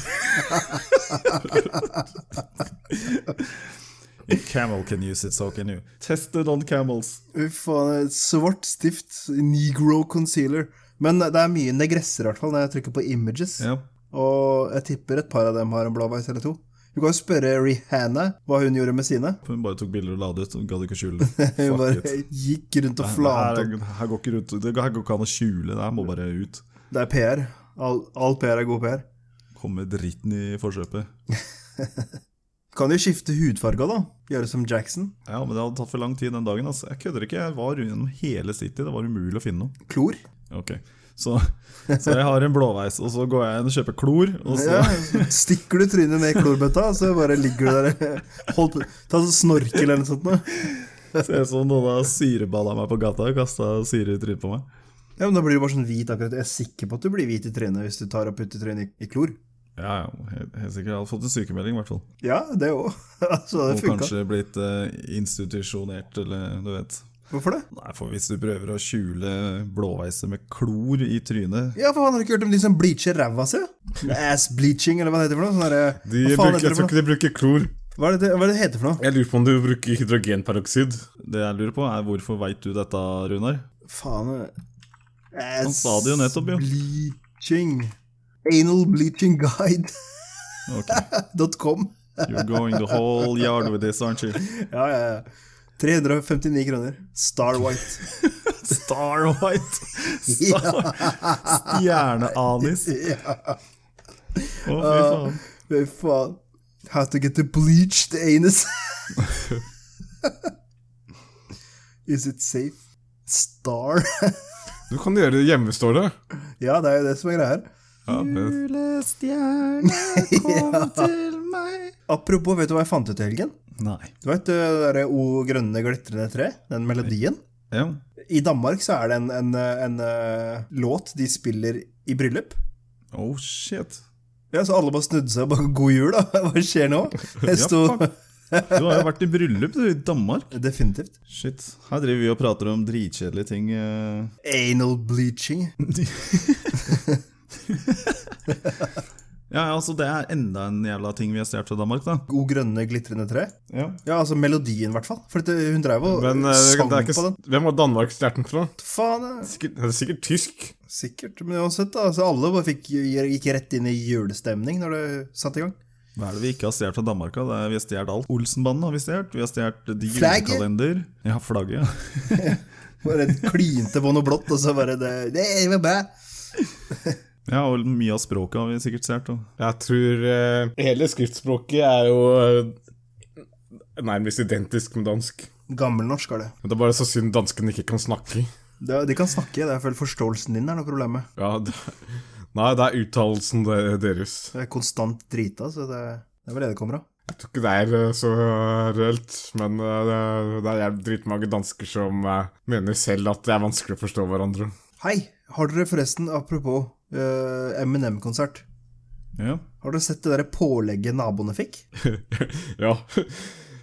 Camel can use it, so can you. Tested on camels.
Fy faen, et svart stift. Negro concealer. Men det er mye negresser, i hvert fall, når jeg trykker på images.
Ja.
Og jeg tipper et par av dem har en blåveis eller to. Du kan jo spørre Rihanna hva hun gjorde med sine.
Hun bare tok bilder og la det ut, hun gadd ikke å skjule det.
Hun
Fuck
bare
it.
gikk rundt og
Her,
flante.
her går ikke rundt, det her går ikke an å skjule, det her må bare ut.
Det er PR. All, all PR er god PR.
Komme dritten i forkjøpet.
Kan jo skifte hudfarge òg, da. Gjøre som Jackson.
Ja, men det hadde tatt for lang tid den dagen, altså. Jeg kødder ikke, jeg var gjennom hele City, det var umulig å finne noe.
Klor.
Ok, så, så jeg har en blåveis, og så går jeg inn og kjøper klor, og så...
Ja, stikker du trynet ned i klorbøtta, så bare ligger du der. Hold, på- ta sånn snorkel eller noe sånt. nå.
Ser ut som noen har syreballa meg på gata og kasta syre i trynet på meg.
Ja, men Da blir du bare sånn hvit. akkurat. Jeg er sikker på at du blir hvit i trynet hvis du tar og putter trynet i, i klor.
Ja, ja, helt, helt sikkert. Jeg hadde fått en sykemelding, i hvert fall.
Ja, det òg. Altså,
Og
det funka.
kanskje blitt eh, institusjonert, eller du vet.
Hvorfor det?
Nei, for hvis du prøver å skjule blåveiser med klor i trynet
Ja, for faen, har du ikke hørt om de som bleacher ræva si? Ass bleaching, eller hva det heter for noe? Sånn derre-
De
hva, faen heter
bruker, jeg
det for
tror
noe?
ikke de bruker klor.
Hva, er det, hva er det det heter for noe?
Jeg lurer på om du bruker hydrogenperoksid.
Det jeg lurer på, er hvorfor veit du dette, Runar?
Faen eh,
Han
Ass
sa det jo nettopp, jo.
bleaching. Anal bleaching guide.
Ok,
.com.
You're going the whole yard with this, aren't you?
Ja, ja, ja. 359 kroner. Star White.
Star White! Star Stjerneanis. Å, fy faen.
Fy faen. How to get the bleached anus. Is it safe? Star.
Du kan gjøre det hjemme, står det.
ja, det er jo det som er greia her.
Ja, det.
Julestjerne, kom til meg
Apropos, vet du hva jeg fant ut i helgen?
Nei.
Du vet det derre O grønne glitrende tre? Den melodien?
Ja.
I Danmark så er det en, en, en, eh, låt de spiller i bryllup.
Oh, shit.
Ja, Så alle bare snudde seg og bare 'god jul', da. Hva skjer nå? Det sto
Ja, fuck. Du har jo vært i bryllup du, i Danmark.
definitivt.
Shit. Her driver vi og prater om dritkjedelige ting. eh.
Anal bleaching.
Ja, ja, altså Det er enda en jævla ting vi har stjålet fra Danmark, da.
O grønne glitrende tre.
Ja.
Ja, altså melodien, i hvert fall. For det, hun drev og
Men eh, det
sang
det er ikke,
på den.
s- hvem var Danmark stjerten fra?
Faen, ja.
Sikkert, det er sikkert tysk.
sikkert. Men uansett, da. Altså, alle bare fikk, gikk rett inn i julestemning når det satte i gang.
Hva er det vi ikke har stjålet fra Danmark? da? Det er, vi har stjålet alt. Olsenbanden har vi stjålet. Vi har stjålet de
Flagget?
julekalender. Ja, flagget. ja.
Bare klinte på noe blått, og så bare det, det var bra.
Ja, og mye av språket har vi sikkert stjålet. og-
Jeg tror eh, Hele skriftspråket er jo eh, nærmest identisk med dansk.
Gammelnorsk er det.
Men Det er bare så synd danskene ikke kan snakke.
det. De kan snakke, det er vel forståelsen din er noe problemet.
Ja, det, nei, det er uttalelsen de- deres.
Det er konstant drita, så det, det er vel det det kommer av.
Jeg tror ikke det er eh, så reelt, men eh, det er- det er dritmange dansker som eh, mener selv at det er vanskelig å forstå hverandre.
Hei, har dere forresten, apropos eh, Eminem-konsert,
Ja.
har dere sett det der pålegget naboene fikk?
ja.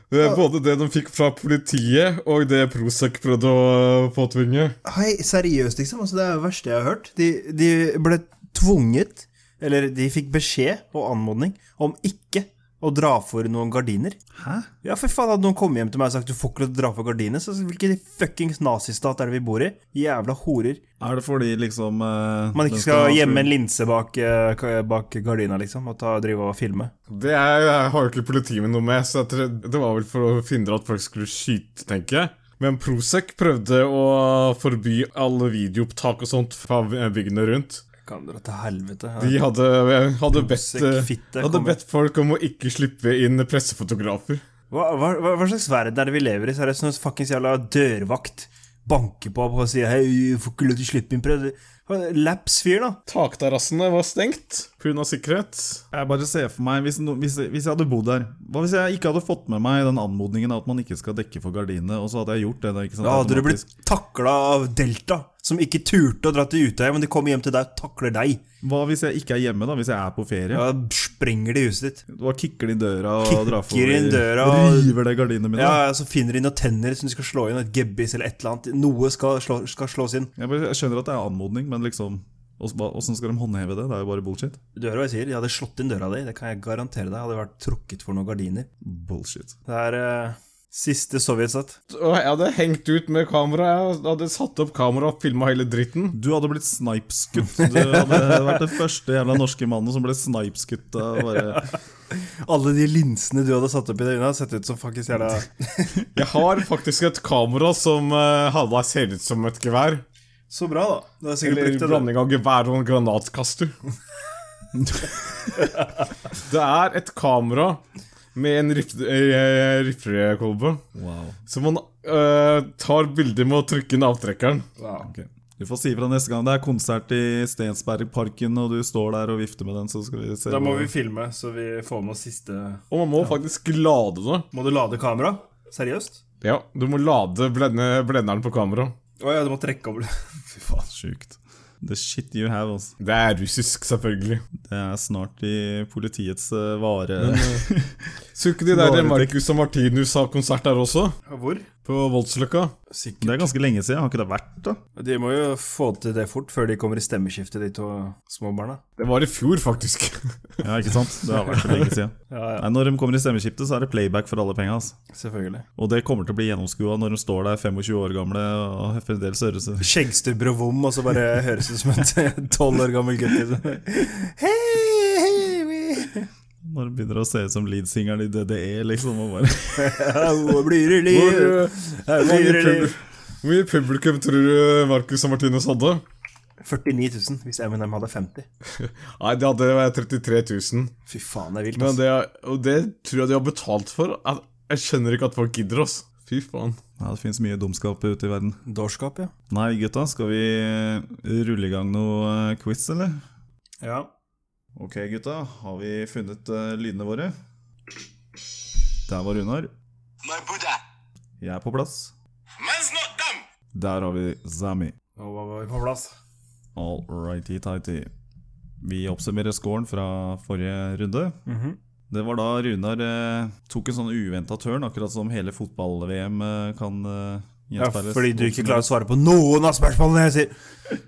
Det er Både det de fikk fra politiet, og det Prosec prøvde å eh, påtvinge.
Hei, seriøst, liksom. Altså, det er det verste jeg har hørt. De, de ble tvunget, eller de fikk beskjed og anmodning om ikke å dra for noen gardiner.
Hæ?
Ja, for faen, hadde noen kommet hjem til meg og sagt du får ikke lov til å dra for gardiner, så hvilken fuckings nazistat er det vi bor i? Jævla horer.
Er det fordi liksom eh,
Man
den
ikke skal
ha
gjemme
full-
en linse bak, eh, ka- bak gardina, liksom, og ta, drive og filme.
Det er, jeg har jo ikke politiet med noe med, så jeg tror, det var vel for å forhindre at folk skulle skyte, tenker jeg. Men Prosec prøvde å forby alle videoopptak og sånt fra eh, bygdene rundt.
Kan dra til helvete.
De hadde, eh, hadde, bedt, eh,
Prosec, fitte,
hadde
kom
bedt folk om å ikke slippe inn pressefotografer.
Hva, hva, hva, hva slags verden er det sånn vi lever i? Seriøst, når en fuckings jævla dørvakt banker på og sier 'hei, du får ikke lov til å slippe inn prøve'. Laps-fyr, da.
Takterrassene var stengt pga. sikkerhet.
Jeg bare ser for meg, hvis, no, hvis, hvis jeg hadde bodd der Hva hvis jeg ikke hadde fått med meg den anmodningen av at man ikke skal dekke for gardinene, og så hadde jeg gjort det? da, ikke sant?
Da hadde du
automatisk?
blitt takla av Delta, som ikke turte å dra til Utøya, men de kommer hjem til deg og takler deg.
Hva hvis jeg ikke er hjemme, da? Hvis jeg er på ferie?
Da sprenger de huset ditt.
Da kikker de i døra og
Kikker
drar for
inn døra og-
river det gardinet mitt. da.
Ja, ja, Så finner de noen tenner som de skal slå inn, et gebbis eller et eller annet. Noe skal, slå, skal slås inn.
Jeg, bare, jeg skjønner at det er anmodning, men liksom Åssen skal de håndheve det? Det er jo bare bullshit.
Du hører hva jeg sier? De hadde slått inn døra di, det kan jeg garantere deg. Hadde vært trukket for noen gardiner.
Bullshit.
Det er eh, siste sovjetstat.
Og jeg hadde hengt ut med kamera. Jeg hadde satt opp kamera og filma hele dritten.
Du hadde blitt snipeskutt. Du hadde vært den første jævla norske mannen som ble snipeskutt av bare
Alle de linsene du hadde satt opp i deg unna, sett ut som faktisk jævla
Jeg har faktisk et kamera som uh, halva ser ut som et gevær.
Så bra, da. Det er sikkert
Eller
brukt
en
det, da.
blanding av gevær og en granatkaster. det er et kamera med en rif- eh, riflekolbe
Wow.
som man eh, tar bilder med å trykke inn avtrekkeren.
Ok. Du får si ifra neste gang det er konsert i Stensbergparken, og du står der og vifter med den, så skal vi se
Da må
hvor-
vi filme, så vi får med oss siste
Og man må faktisk lade det.
Må du lade kamera? Seriøst?
Ja, du må lade blende, blenderen på kamera.
Å ja, du må trekke over Fy faen.
Sjukt. The shit you have, altså.
Det er russisk, selvfølgelig.
Det er snart i politiets eh, vare...
Så ikke de der
Varetekt.
Marcus og Martinus har konsert der også?
Hvor?
På Voldsløkka?
Det
Sikkert.
er ganske lenge siden, har ikke det vært da?
De må jo få til det fort, før de kommer i stemmeskiftet, de to småbarna.
Det var i fjor, faktisk.
Ja, ikke sant? Det har vært for lenge siden.
Ja,
Nei, når de kommer i stemmeskiftet, så er det playback for alle penga. Altså.
Selvfølgelig.
Og det kommer til å bli gjennomskua når de står der 25 år gamle og fremdeles høres ut.
Skjeggstubber og vom, og så bare høres ut som en tolv år gammel gutt. liksom. Hei, hei, vi-
Bare begynner å se ut som leadsingeren i DDE, liksom. Og bare
Hvor blir det
Hvor,
liv?
eh,
Her
hvor,
blir
mye
det
pub-
liv?
hvor mye publikum tror du eh, Marcus og Martinus hadde?
49 000, hvis Eminem hadde 50.
Nei, de hadde 33 000.
Fy faen, det er vilt,
Men
ass.
det, og det tror jeg de har betalt for. Jeg, jeg skjønner ikke at folk gidder, ass. Fy faen.
Ja, det fins mye dumskap ute i verden.
Dårskap, ja.
Nei, gutta, skal vi eh, rulle i gang noe eh, quiz, eller?
Ja.
Ok, gutta. Har vi funnet eh, lydene våre? Der var Runar.
My Buddha,
Jeg er på plass.
man's not dumb.
Der har vi Zami.
Nå var vi på plass.
All righty tighty. Vi oppsummerer scoren fra forrige runde.
Mhm.
Det var da Runar eh, tok en sånn uventa tørn, akkurat som hele fotball-VM eh, kan eh,
Ja,
gjenspeiles.
fordi du ikke klarer å svare på noen av spørsmålene jeg sier.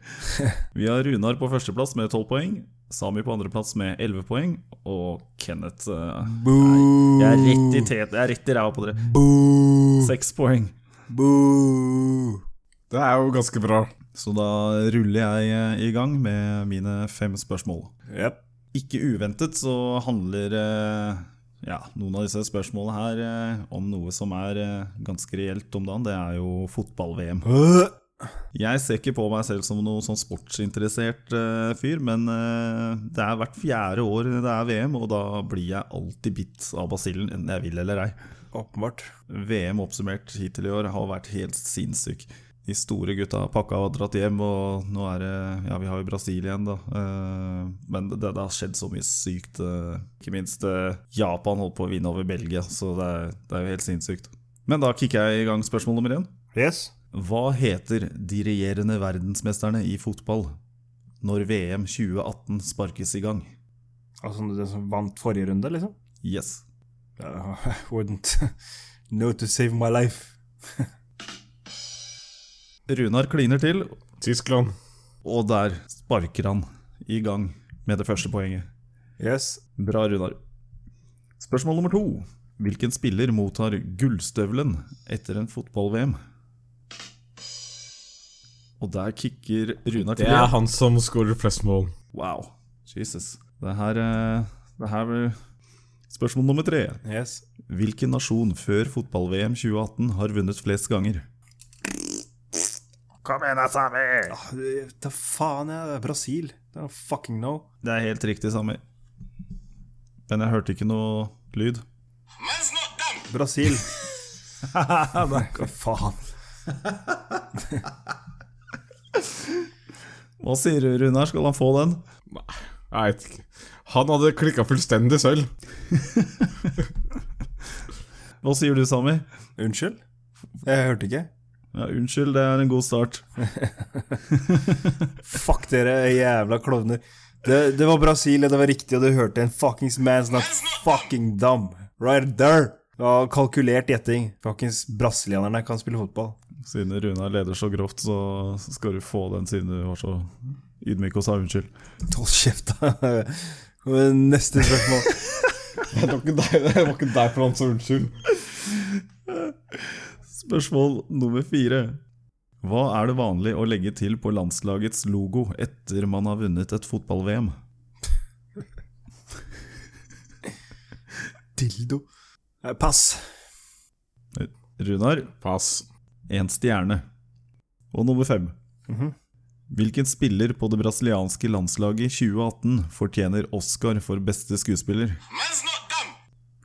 Vi har Runar på førsteplass med 12 poeng, Sami på andreplass med 11 poeng, og Kenneth eh,
Boo.
Jeg er rett i tet, jeg er rett i ræva på dere.
Boo.
Seks poeng.
Boo.
Det er jo ganske bra.
Så da ruller jeg eh, i gang med mine fem spørsmål.
Yep.
Ikke uventet så handler eh, ja, noen av disse spørsmålene her eh, om noe som er eh, ganske reelt om dagen. Det er jo fotball-VM.
Øh.
Jeg ser ikke på meg selv som noen sånn sportsinteressert eh, fyr, men eh, det er hvert fjerde år det er VM, og da blir jeg alltid bitt av basillen, enten jeg vil eller ei.
Åpenbart.
VM oppsummert hittil i år har vært helt sinnssyk. De store gutta har pakka og dratt hjem, og nå er det Ja, vi har jo Brasil igjen, da. Eh, Men det, det har skjedd så mye sykt. eh, Ikke minst eh, Japan holdt på å vinne over Belgia, så det er, det er jo helt sinnssykt. Men da kicker jeg i gang spørsmål nummer én.
Yes.
Hva heter de regjerende verdensmesterne i fotball når VM 2018 sparkes i gang?
Altså den som vant forrige runde, liksom?
Yes.
Uh, I wouldn't know to save my life.
Runar kliner til,
Tyskland.
og der sparker han i gang med det første poenget.
Yes.
Bra, Runar. Spørsmål nummer to. Hvilken spiller mottar gullstøvelen etter en fotball-VM? Og der kicker Runar til.
Det er han som skårer flest mål.
Wow. Jesus. Det her, eh, det her Spørsmål nummer tre.
Yes.
Hvilken nasjon før fotball-VM 2018 har vunnet flest ganger?
Ah, det- Da faen, jeg. Det er Brasil. Det er fucking no.
Det er helt riktig, Sami. Men jeg hørte ikke noe lyd.
Man's not dumb.
Brasil. Hva faen?
Hva sier du, Runar? Skal han få den?
Jeg vet ikke. Han hadde klikka fullstendig selv.
Hva sier du, Sami?
Unnskyld? Jeg hørte ikke.
Ja, unnskyld, det er en god start.
Fuck dere, jævla klovner. Det, det var Brasil, og det var riktig, og du hørte en fuckings man's not fucking dumb. Right there. Det var kalkulert gjetting. Fuckings brasilianerne kan spille fotball.
Siden Runar leder så grovt, så skal du få den siden du var så ydmyk og sa unnskyld.
Hold kjeft, da. Neste spørsmål.
Det var ikke deg, det var ikke deg for han som unnskyld.
Spørsmål nummer fire. Hva er det vanlig å legge til på landslagets logo etter man har vunnet et fotball-VM?
Dildo. Eh, Pass.
Runar,
Pass.
én stjerne. Og nummer fem.
Mhm.
Hvilken spiller på det brasilianske landslaget i 2018 fortjener Oscar for beste skuespiller?
Man's not dumb.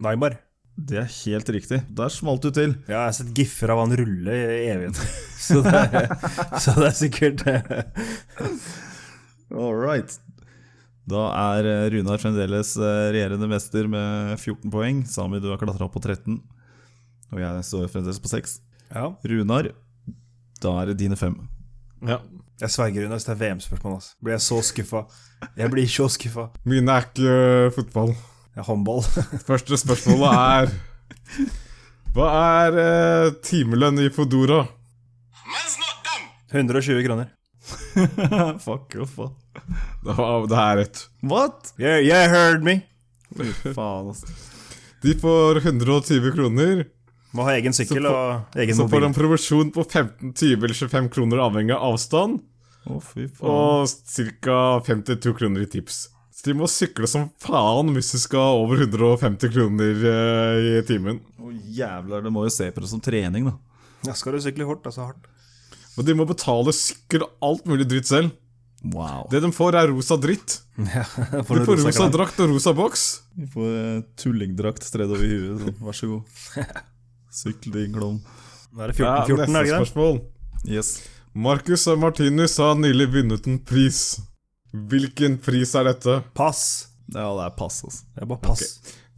Neymar.
Det er helt riktig. Der smalt du til.
Ja, jeg har sett giffer av han rulle i evigheten. Så det er, så det er sikkert eh,
All right. Da er eh, Runar fremdeles eh, regjerende mester med 14 poeng. Sami, du har klatra opp på 13. Og jeg står fremdeles på 6.
Ja.
Runar, da er det dine fem.
Ja.
Jeg sverger unna hvis det er VM-spørsmål. Altså. Blir jeg så skuffa? Jeg blir så skuffa.
Mine er ikke øh, fotball.
Jeg er håndball.
Første spørsmålet er Hva er øh, timelønn i Fodora?
Man's not dumb.
120 kroner.
Fuck off, da.
Det, var, det er rett.
What?!
Yeah, yeah, heard me.
Faen, altså.
De får 120 kroner.
Må ha egen sykkel
Så på-
og egen
Så får
mobil.
han provisjon på 15, 20 eller 25 kroner avhengig av avstand,
Å, fy faen.
og ca. 52 kroner i tips. Så de må sykle som faen hvis de skal over 150 kroner eh, i timen.
Å, jævlar, det må jo se på det som trening, da.
Ja, skal du sykle hardt, altså hardt.
Og de må betale sykkel og alt mulig dritt selv.
Wow.
Det de får, er rosa dritt.
For
De får rosa drakt og rosa boks.
Vi får eh, tullingdrakt stredd over huet. Sånn. Vær så god. Sykle din klovn.
Da er det 14, 14 er det ikke det?
spørsmål.
Yes.
Marcus og Martinus har nylig vunnet en pris. Hvilken pris er dette?
Pass.
Ja, det er pass, altså.
Det er bare pass.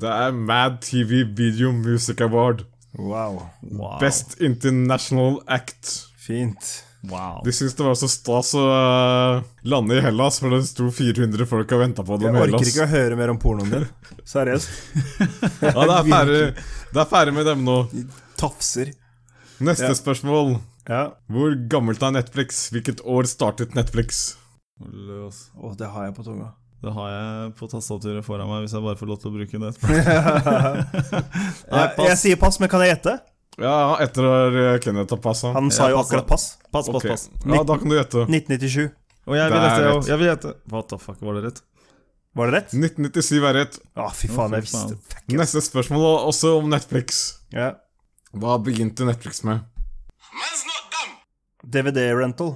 Det er Mad TV Video Music Award.
Wow.
Wow.
Best International Act.
Fint.
Wow.
De syntes det var så stas å eh, lande i Hellas, for det sto 400 folk og venta på
Jeg
dem i
orker
Hellas.
ikke å høre mer om pornoen din. Seriøst.
Ja, det er ferdig, det er ferdig med dem nå.
Tafser.
Neste spørsmål.
Ja.
Hvor gammelt er Netflix? Hvilket år startet Netflix?
Løs.
Å, det har jeg på tunga.
Det har jeg på tastaturet foran meg, hvis jeg bare får lov til å bruke det. etterpå.
Eh,
Jeg, Eh, jeg sier pass, men kan jeg gjette?
Ja, etter at eh, Kenneth har passa.
Han sa
Ja,
jo
pass, da.
akkurat pass.
Pass, pass, pass.
Ja, da kan du gjette.
1997.
Og jeg vil
Det er
gjette, jeg
rett.
også. jeg vil gjette. What the fuck, var det rett?
Var det rett?
1997 er rett.
Å, fy faen,
Å,
jeg
fy faen.
visste Fuck.
Neste spørsmål er også om Netflix.
Ja.
Hva begynte Netflix med?
Man's not dumb.
DVD-rental.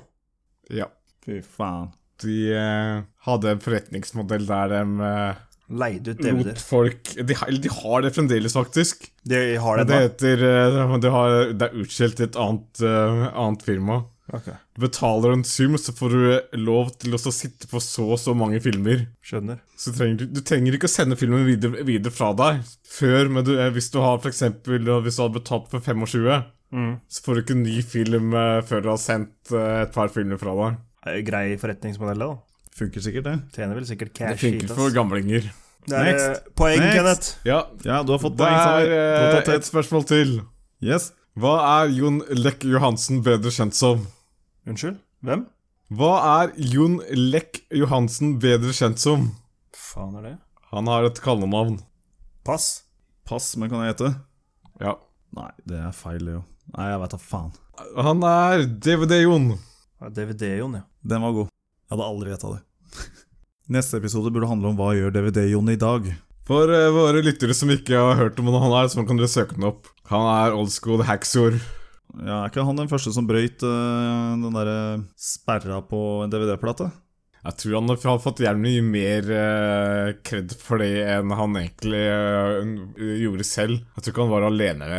Ja,
Fy faen.
de eh, hadde en forretningsmodell der de eh,
Leide ut
lot
DVD-er.
folk de, har- Eller de har det fremdeles, faktisk.
De har
Men
det
det
da.
heter eh, det, har, det er utskjelt til et annet, eh, annet firma.
Ok,
Du betaler en sum, så får du eh, lov til å så sitte på så og så mange filmer.
Skjønner.
Så trenger du, du trenger ikke å sende filmen videre, videre fra deg før, men du, eh, hvis du har for eksempel, eh, hvis du har betalt for 25,
Mm.
så får du ikke en ny film eh, før du har sendt eh, et par filmer fra deg.
Det er jo Grei forretningsmodell, da.
Funker sikkert, det.
Tjener vel sikkert
Det
cash. hit,
funker
ass.
for gamlinger.
Det er
Next.
eh, poeng,
Next.
Kenneth.
Ja,
Ja, du har fått
det
poeng,
er
Sander. Du har
eh,
tatt
et spørsmål til.
et. Yes.
Hva er Jon Lekk Johansen bedre kjent som?
Unnskyld? Hvem?
Hva er Jon Lekk Johansen bedre kjent som?
Faen er det?
Han har et kallenavn.
Pass.
Pass, men kan jeg gjette?
Ja.
Nei, det er feil, Leo. Nei, jeg veit da faen.
Han er DVD-Jon.
Ja, DVD-Jon, ja.
Den var god. Jeg hadde aldri gjetta det. Neste episode burde handle om hva gjør DVD-Jon i dag.
For eh, våre lyttere som ikke har hørt om han er, så kan dere søke han opp. Han er old school hacksor.
Ja, Er ikke han den første som brøyt eh, den derre sperra på en DVD-plate?
Jeg tror han har fått jævlig mye mer eh, kred for det enn han egentlig eh, gjorde selv. Jeg tror ikke han var alene,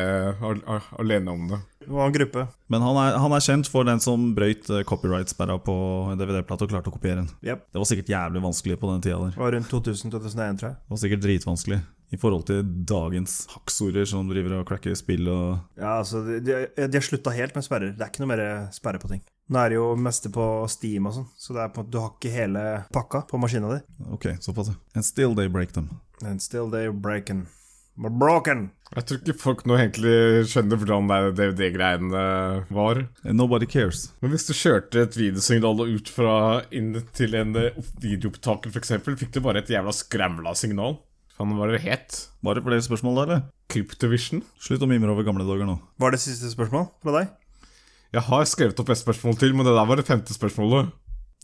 al al alene om det.
Det var en gruppe.
Men han er, han er kjent for den som brøyt eh, copyright-sperra på en DVD-plate og klarte å kopiere den.
Jep.
Det var sikkert jævlig vanskelig på den tida der.
Det var rundt 2000-2001, tror jeg.
Det var sikkert dritvanskelig i forhold til dagens hakksorer som driver og cracker spill og
Ja, altså, de, de, de har slutta helt med sperrer. Det er ikke noe mer sperre på ting. Nå er det jo meste på Steam og sånn, så det er på en måte, du har ikke hele pakka på maskina di.
Ok, såpass. ja. And still they break them.
And still they breaking. We're broken!
Jeg tror ikke folk nå egentlig skjønner hvordan det DVD-greiene var.
And nobody cares.
Men hvis du kjørte et videosignal og ut fra inn til en eh, opp- videoopptaker, f.eks., fikk du bare et jævla skramla signal. Faen, hva var det det het?
Var det flere spørsmål der, eller?
Kryptovision?
Slutt å mimre over gamle dager nå.
Var det siste spørsmål fra deg?
Jeg har skrevet opp et spørsmål til, men det der var det femte spørsmålet.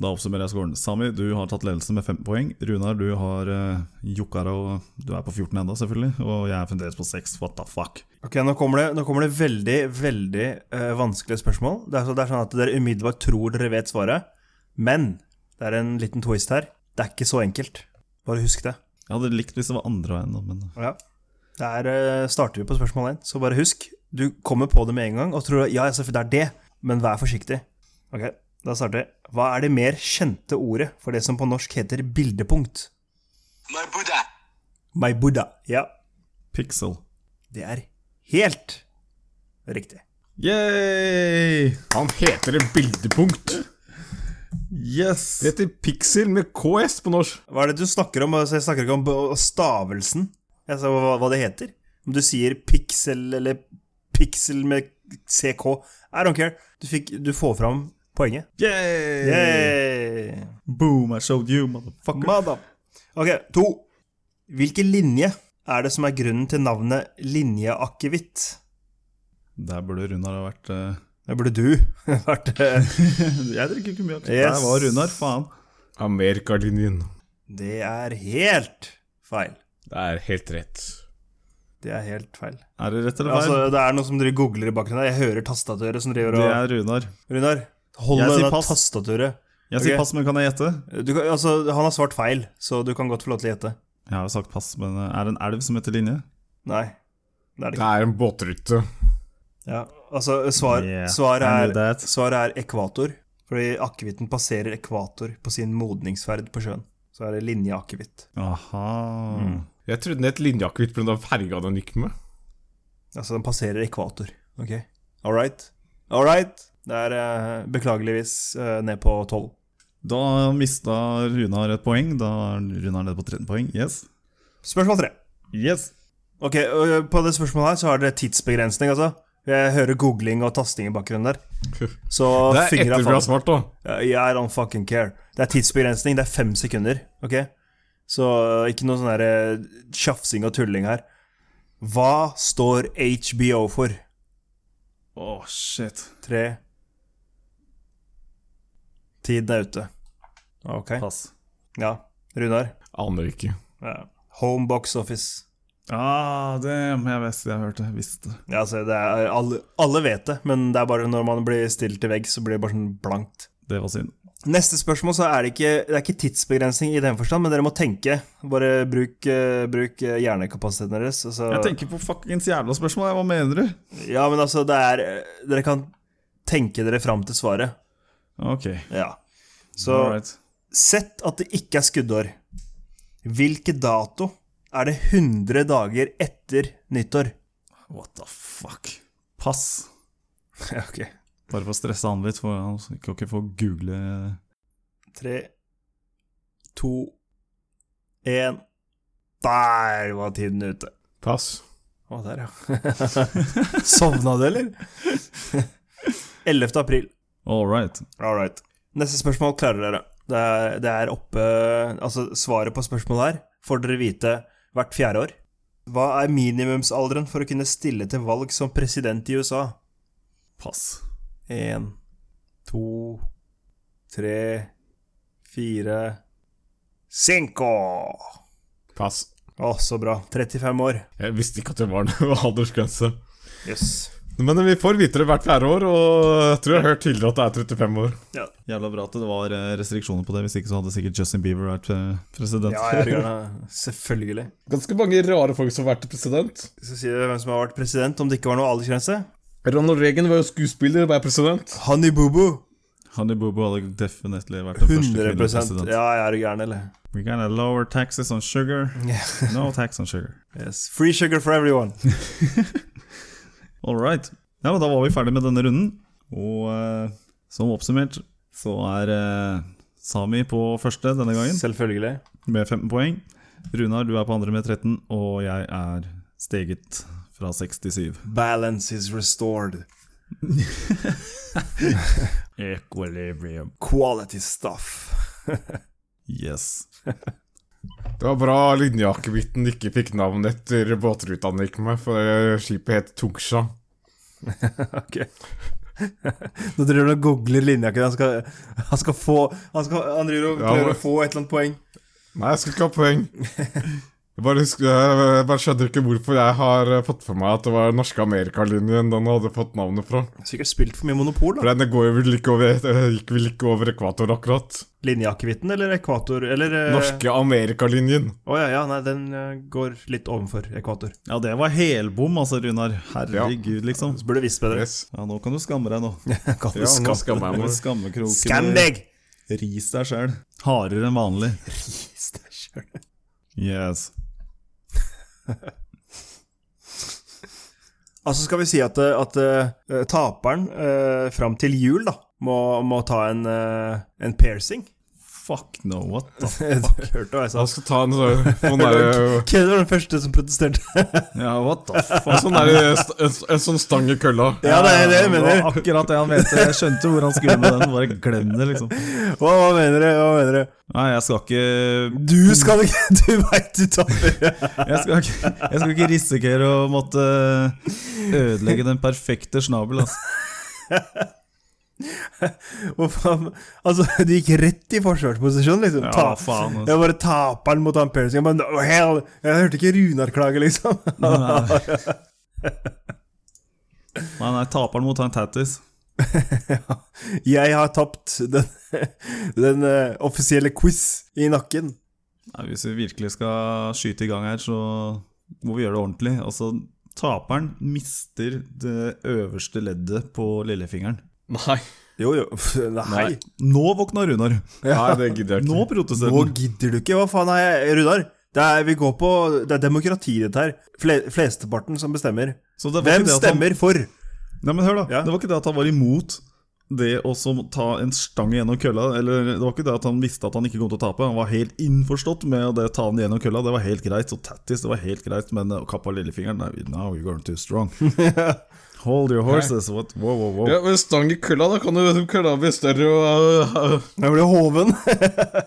Da oppsummerer jeg scoren. Sami, du har tatt ledelsen med 15 poeng. Runar, du har uh, jukka deg, og du er på 14 enda selvfølgelig. Og jeg er fremdeles på 6. What the fuck?
Ok, Nå kommer det, nå kommer det veldig veldig eh, vanskelige spørsmål. Det er, så, det er sånn at Dere umiddelbart tror dere vet svaret, men det er en liten twist her. Det er ikke så enkelt. Bare husk det.
Jeg hadde likt hvis det var andre veien, da, men eh,
Der eh, starter vi på spørsmål 1, så bare husk. Du kommer på det med en gang og tror ja, selvfølgelig, det er det, men vær forsiktig. Ok, Da starter jeg. Hva er det mer kjente ordet for det som på norsk heter bildepunkt?
My Buddha.
My Buddha. Ja,
Pixel.
det er helt riktig.
Yay!
Han heter et bildepunkt.
Yes!
Det heter Pixel med KS på norsk.
Hva er det du snakker om? Altså, jeg snakker ikke om b- stavelsen, jeg sa hva, hva det heter. Om du sier pixel eller pixel med ck, I don't care. Du, fikk, du får fram poenget.
Yay!
Yay!
Boom, I showed you, motherfucker.
Mada. Ok, to. Hvilken linje er det som er grunnen til navnet linjeakevitt?
Der burde Runar ha vært eh,
Det burde du vært eh,
Jeg drikker ikke mye.
Yes.
Der var Runar, faen.
Amerikalinjen.
Det er helt feil.
Det er helt rett.
Det er helt feil.
Er det rett eller feil?
Altså, det er noe som dere googler i bakgrunnen. her. Jeg hører tastatøret som driver
det
og
er Runar.
Runar, hold
Jeg
deg
sier
unna
pass.
tastatøret.
Jeg
Ok.
sier pass, men kan jeg gjette?
Du, kan- altså, han har svart feil, så du kan godt få lov til å gjette.
Jeg har jo sagt pass, men eh, er det en elv som heter Linje?
Nei. Det er det
Det
ikke.
er en båtrute.
Ja, altså, svar,
Yeah, I knew
svaret, er,
that.
svaret er ekvator. Fordi akevitten passerer ekvator på sin modningsferd på sjøen. Så er det linjeakevitt.
Aha. Mm.
Jeg trodde den het linjeakevitt pga. ferga den gikk med.
Altså, den passerer ekvator. Ok. All right. All right. Det er eh, beklageligvis eh, ned på tolv.
Da mista Runar et poeng. Da er Runar nede på 13 poeng. Yes.
Spørsmål tre.
Yes.
Ok, og På det spørsmålet her så har dere tidsbegrensning, altså. Jeg hører googling og tasting i bakgrunnen der. Så
Det er altså.
fingra
etter vi har
falt.
svart, da.
I don't fucking care. Det er tidsbegrensning. Det er fem sekunder, ok? Så eh, ikke noe sånn der, eh, tjafsing og tulling her. Hva står HBO for?
Åh, shit.
Tre Tiden er ute. Ok.
Pass.
Ja. Runar?
Aner ikke.
Ja. Home Box Office.
Ah, damn. Jeg visste jeg hørte. Visste.
Ja, altså, det er, alle, alle vet det, men det er bare når man blir stilt til vegg, så blir det bare sånn blankt.
Det var synd.
Neste spørsmål så er det ikke, det er ikke tidsbegrensning i den forstand, men dere må tenke. Bare bruk, eh, bruk eh, hjernekapasiteten deres. Altså,
Jeg tenker på fuckings jævla spørsmål. jeg. Hva mener du?
Ja, men altså, det er eh, Dere kan tenke dere fram til svaret.
Ok.
Ja. Så
All right.
sett at det ikke er skuddår. Hvilken dato er det 100 dager etter nyttår?
What the fuck? Pass.
Ja, ok.
Bare for å stresse han litt, for han skal ikke få google
Tre, to, én Der var tiden ute.
Pass.
Å, der, ja. Sovna du, eller? 11. april.
All right.
All right. Neste spørsmål klarer dere. Det er, det er oppe Altså, svaret på spørsmålet her får dere vite hvert fjerde år. Hva er minimumsalderen for å kunne stille til valg som president i USA?
Pass.
Én, to, tre, fire Cinco!
Pass.
Å, så bra. 35 år.
Jeg visste ikke at det var noe aldersgrense.
Yes.
Men vi får vite det hvert fjerde år, og jeg tror jeg har hørt tidligere at det er 35 år.
Ja,
Jævla bra at det var eh, restriksjoner på det, hvis ikke så hadde sikkert Justin Bieber vært eh, president.
ja jeg er gjerne- Selvfølgelig.
Ganske mange rare folk som har vært president.
Jeg skal si dere hvem som har vært president, om det ikke var noe aldersgrense.
Ronald Reagan var jo skuespiller og ble president.
Honey Boo Boo.
Honey Boo Boo hadde definitely vært den første
100
kvinnelige president.
Ja, jeg er gæren, eller?
We're gonna lower taxes on sugar. No tax on sugar.
Yes. Free sugar for everyone.
All right. Ja, men da var vi ferdig med denne runden. Og eh, som oppsummert så er eh, Sami på første denne gangen
Selvfølgelig.
med 15 poeng. Runar, du er på andre med 13, og jeg er steget fra 6 til 7.
Balance is restored.
Equilibrium.
Quality stuff.
Yes.
Det var bra linjeakevitten ikke fikk navn etter båtruta han gikk med, for skipet het Tungsja.
Ok. Nå driver han og googler linjakken. Han skal, han skal få Han, skal, han driver og
Ja,
prøver
men-
å få et eller annet poeng.
Nei, jeg skal ikke ha poeng. Jeg bare, husker, jeg bare skjønner ikke hvorfor jeg har eh, fått for meg at det var den norske Amerikalinjen den hadde fått navnet fra.
Sikkert spilt for mye Monopol,
For
da.
den går jo vel ikke over, eh, gikk vel ikke over ekvator akkurat.
Linjeakevitten eller ekvator eller eh,
Norske Amerikalinjen.
Å ja, ja, nei, den eh, går litt ovenfor ekvator.
Ja, det var helbom, altså, Runar. Herregud, liksom.
Så burde du visst bedre.
Yes.
Ja, nå kan du skamme deg, nå.
Kan du
Ja, nå
skamme-
skammer jeg meg.
Skammekroken.
Skam deg!
Ris deg sjæl. Hardere enn vanlig.
Yes, det skjønner jeg.
Yes.
Altså skal vi si at, eh, at eh, taperen eh, fram til jul da, må, må ta en, eh, en piercing.
Fuck no, what the
Hørte du hva jeg sa?
Jeg skal ta en sånn sånn
Det var
der,
K- Kenneth var den første som protesterte.
Ja, what the fuck?
en, sånn der, st- en, en sånn stang i kølla.
ja, det er
Eh,
det jeg
det
mener.
var akkurat det han mente. Jeg skjønte hvor han skulle med den. Bare glem det, liksom.
Hva, hva mener dere? Hva mener dere?
Nei, jeg skal ikke
Du skal ikke Du veit du taper.
Jeg skal ikke, jeg skal ikke risikere eh, å måtte ødelegge den perfekte snabel, altså.
Hvor faen Altså, du gikk rett i forsvarsposisjon, liksom.
Ja,
Ta-
faen, altså.
Jeg bare taper den mot han Percy. Jeg, bare, no, hell. jeg hørte ikke Runar klage, liksom.
Nei, nei, nei taperen mot han Tattis.
Jeg har tapt den, den eh, offisielle quiz i nakken.
Nei, Hvis vi virkelig skal skyte i gang her, så må vi gjøre det ordentlig. Altså, taperen mister det øverste leddet på lillefingeren.
Nei.
Jo, jo. Nei.
Nå våkna Runar!
Nei, det gidder jeg
Nå
ikke.
protesterer
Nå
han!
gidder du ikke. Hva faen er jeg, Runar? Det er, vi går på, det er demokrati, dette her. Fle, flesteparten som bestemmer.
Så det var ikke
Hvem
det altså. at han-
stemmer for?
Nei, men hør da,
Ja.
Det var ikke det at han var imot det å så ta en stang gjennom kølla. Eller Det var ikke det at han visste at han ikke kom til å tape. Han var helt innforstått med å det, ta den gjennom kølla. Det var helt greit. Og tattis, det var helt greit. Men å kappe av lillefingeren Nei, now you're going too strong. Hold your horses. What? Wow, wow, wow.
Ja, men stang i kølla, da kan jo kølla bli større og øh, øh.
Jeg ble hoven.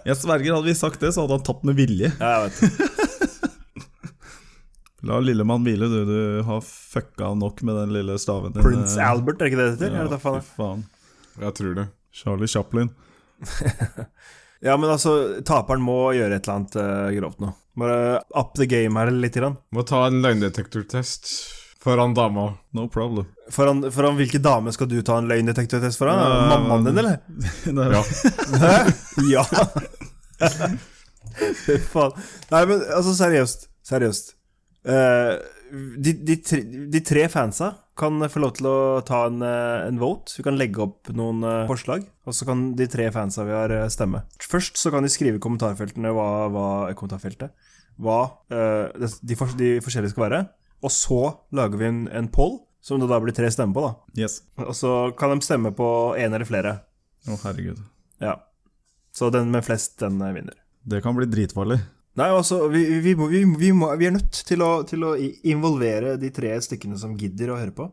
Jeg sverger, hadde vi sagt det, så hadde han tapt med vilje.
Ja, jeg vet det.
La lillemann hvile, du. Du har fucka nok med den lille staven din. eh.
Prince Albert, er ikke det det heter?
Ja,
Jeg vet da faen.
fy faen.
Jeg tror det.
Charlie Chaplin.
Ja, men altså, taperen må gjøre et eller annet eh, grovt nå. Bare up the game her litt. Grann.
Må ta en løgndetektortest foran dama.
No problem.
Foran, foran hvilke dame skal du ta en løgndetektortest foran?
Ja,
Mammaen din, eller?
Nei,
Ja.
Hæ? Ja! Fy faen. Nei, men altså, seriøst. Seriøst. Eh, de, de, tre, de tre fansa kan få lov til å ta en, eh, en vote. Vi kan legge opp noen eh, forslag, og så kan de tre fansa vi har, eh, stemme. Først så kan de skrive i kommentarfeltene hva, hva, eh, kommentarfeltet, hva eh, de, de, fors- de forskjellige skal være. Og så lager vi en, en poll, som det da blir tre stemmer på. da
Yes.
Og så kan de stemme på én eller flere.
Å, herregud.
Ja. Så den med flest, den eh, vinner.
Det kan bli dritfarlig.
Nei, altså, vi, vi, må, vi, vi, må, vi er nødt til å, til å i- involvere de tre stykkene som gidder å høre på,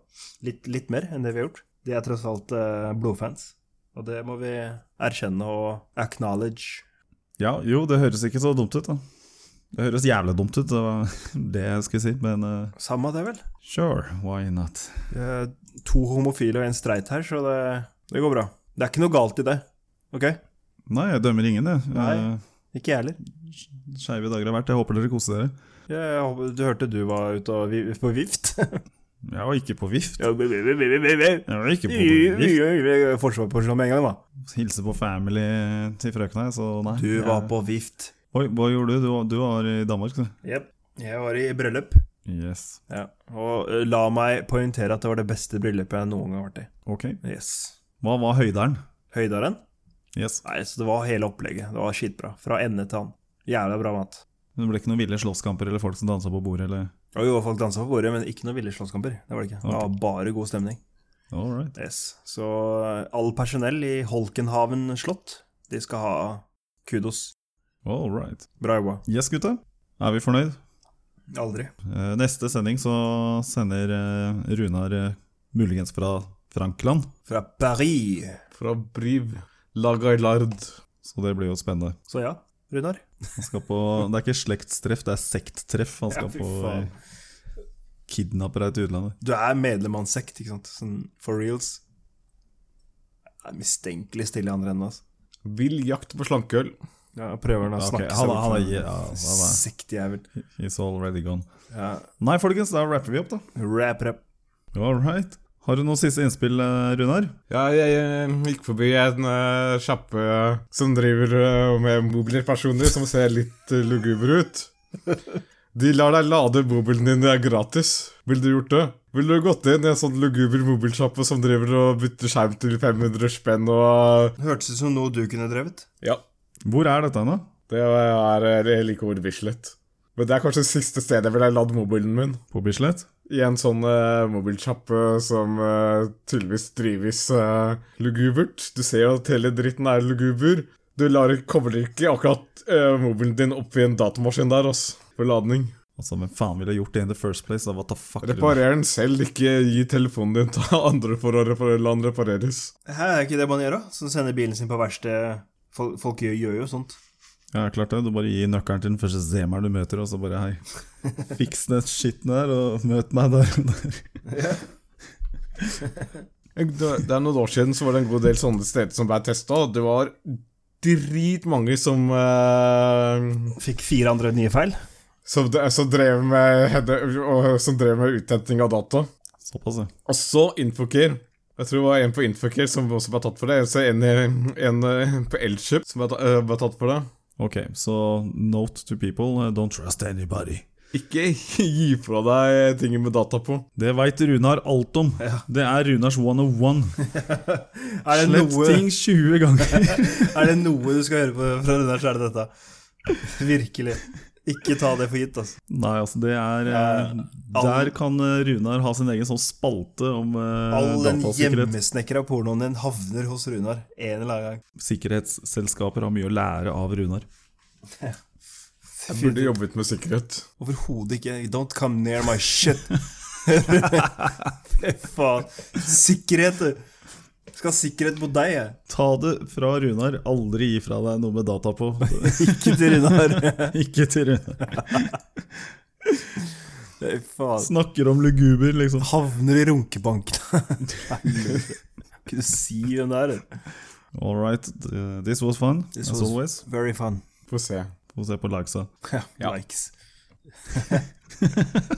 litt, litt mer enn det vi har gjort. De er tross alt eh, blodfans, og det må vi erkjenne og acknowledge.
Ja, jo, det høres ikke så dumt ut, da. Det høres jævlig dumt ut, det var det jeg skulle si, men eh,
Samme det, vel?
sure, why not?
Vi er to homofile og en streit her, så det, det går bra. Det er ikke noe galt i det. Ok?
Nei, jeg dømmer ingen, jeg.
Nei.
Eh,
Ikke jeg heller.
Skeive dager har vært, jeg håper dere koser dere.
Jeg, håper- du hørte du var ute og vi, på vift?
Jeg var ikke på vift.
Ja, vi- vi- vi- vi- vi- vi-
Jeg var ikke på vift.
vi- Forsvar på Oslo med en gang, da.
Hilse på family til frøkna, jeg, så nei.
Du
Jeg-
var på vift.
Oi, hva gjorde du? Du var, du var i Danmark, du.
Jepp. Jeg var i bryllup.
Yes.
Ja. Og ø, la meg poengtere at det var det beste bryllupet jeg noen gang har vært i.
Ok.
Yes.
Hva var høyderen?
Høydaren?
Yes.
Nei, så det var hele opplegget. Det var skitbra. Fra ende til annen. Jævla bra mat.
Det ble ikke noen ville slåsskamper eller folk som dansa på bordet, eller
Og jo, folk dansa på bordet, men ikke noen ville slåsskamper. Det var det ikke. Det var bare god stemning.
All right.
Yes. Så ø, all personell i Holkenhaven slott, de skal ha kudos.
All right.
Bra jobba.
Yes, gutta. Er vi fornøyd?
Aldri.
Eh, Neste sending så sender eh, Runar eh, muligens fra Frankland,
Fra Paris.
Fra Briv. Lagailard.
så det blir jo spennende.
Så ja, Runar.
Han skal på, det er ikke slektstreff, det er sekttreff. Han skal
Ja, fy
på
faen.
eh, Kidnapper deg til utlandet.
Du er medlem av en sekt, ikke sant? Sånn for reals. Jeg er mistenkelig stille i andre enden, altså.
Vill jakt på slankeøl.
Ja, jeg prøver å
Ok,
snakke
han er-
opp
han er-
for en
ja, han er-
Sektjævel.
He's already gone.
Ja.
Nei, folkens, da rapper vi opp, da.
Rap, rap.
All right. Har du noen siste innspill, eh, Runar?
Ja, jeg, eh, gikk forbi en eh, sjappe som driver eh, med mobilpersoner som ser litt uh, lugubre ut. De lar deg lade mobilen din det er gratis. Ville du gjort det? Ville du gått inn i en sånn luguber mobilsjappe som driver og bytter skjerm til 500 spenn og
Hørtes ut som noe du kunne drevet.
Ja.
Hvor er dette hen, da?
Det er eh, like ord Bislett. Men det er kanskje det siste stedet jeg ville ladd mobilen min.
På Bislett?
I en sånn uh, mobilsjappe som eh, tydeligvis drives eh, lugubert. Du ser jo at hele dritten er luguber. Du lar, kobler ikke akkurat eh, mobilen din oppi en datamaskin der, ass. For ladning.
Altså, hvem faen ville gjort det in the first place? Da? What the fuck? Runar?
Reparer den selv, ikke gi telefonen din til andre for å reparere, la den repareres.
Her er ikke det man gjør, da. Som sender bilen sin på verksted. Folk, folk gjør, gjør jo sånt.
Ja, klart det. Du bare gir nøkkelen til den første zemeren du møter, og så bare hei. Fiks den skitten der, og møt meg der.
Det er noen år siden så var det en god del sånne steder som ble testa. Det var dritmange som eh,
Fikk 409 feil.
som, d- som drev med header- og- Som drev med uthenting av data.
Såpass, ja.
Og så Infocare. Jeg tror det var en på Infocare som også ble tatt for det. Så en, en eh, på Elkjøp som ble, ta- eh, ble tatt for det.
Ok, så note to people, eh, don't trust anybody.
Ikke gi fra deg ting med data på.
Det veit Runar alt om. Det er Runars 101.
Er det,
Slett
noe,
ting 20 ganger.
er det noe du skal høre på fra Runar, så er det dette. Virkelig. Ikke ta det for gitt, altså.
Nei, altså, det er eh,
all-
Der kan eh, Runar ha sin egen sånn spalte om eh,
All den
datasikkerhet.
hjemmesnekra pornoen din havner hos Runar en eller annen gang.
Sikkerhetsselskaper har mye å lære av Runar.
Jeg burde jobbet med sikkerhet.
Overhodet ikke. Don't come near my shit. Fy faen. Sikkerhet, du. Skal ha sikkerhet mot deg, jeg.
Ta det fra Runar, aldri gi fra deg noe med data på.
Ikke til Runar.
Ikke til Runar.
Fy faen.
Snakker om luguber, liksom.
Havner i runkebanken. Helvete. Kan du si hvem det er? du?
All right, eh, this was fun,
This
as
was
always.
Very fun.
Få se.
Få se på likesa.
Ja,
Ja.
Likes.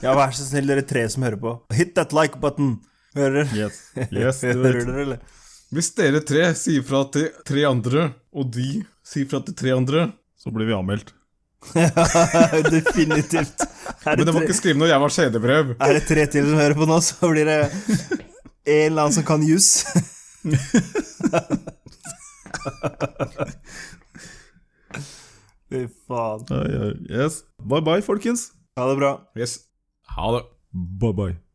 ja, vær så snill, dere tre som hører på. Hit that like button. Hører dere?
Yes. yes do
hører
it.
dere, eller?
Hvis dere tre sier fra til tre andre, og de sier fra til tre andre
Så blir vi anmeldt.
Definitivt. Er
Men det var
tre-
ikke skrevet når jeg var kjedebrev.
Er det tre til som hører på nå, så blir det en eller annen som kan jus. Fy faen.
Oi, oi, Yes. Bye bye, folkens.
Ha det bra.
Yes. Ha det.
Bye bye.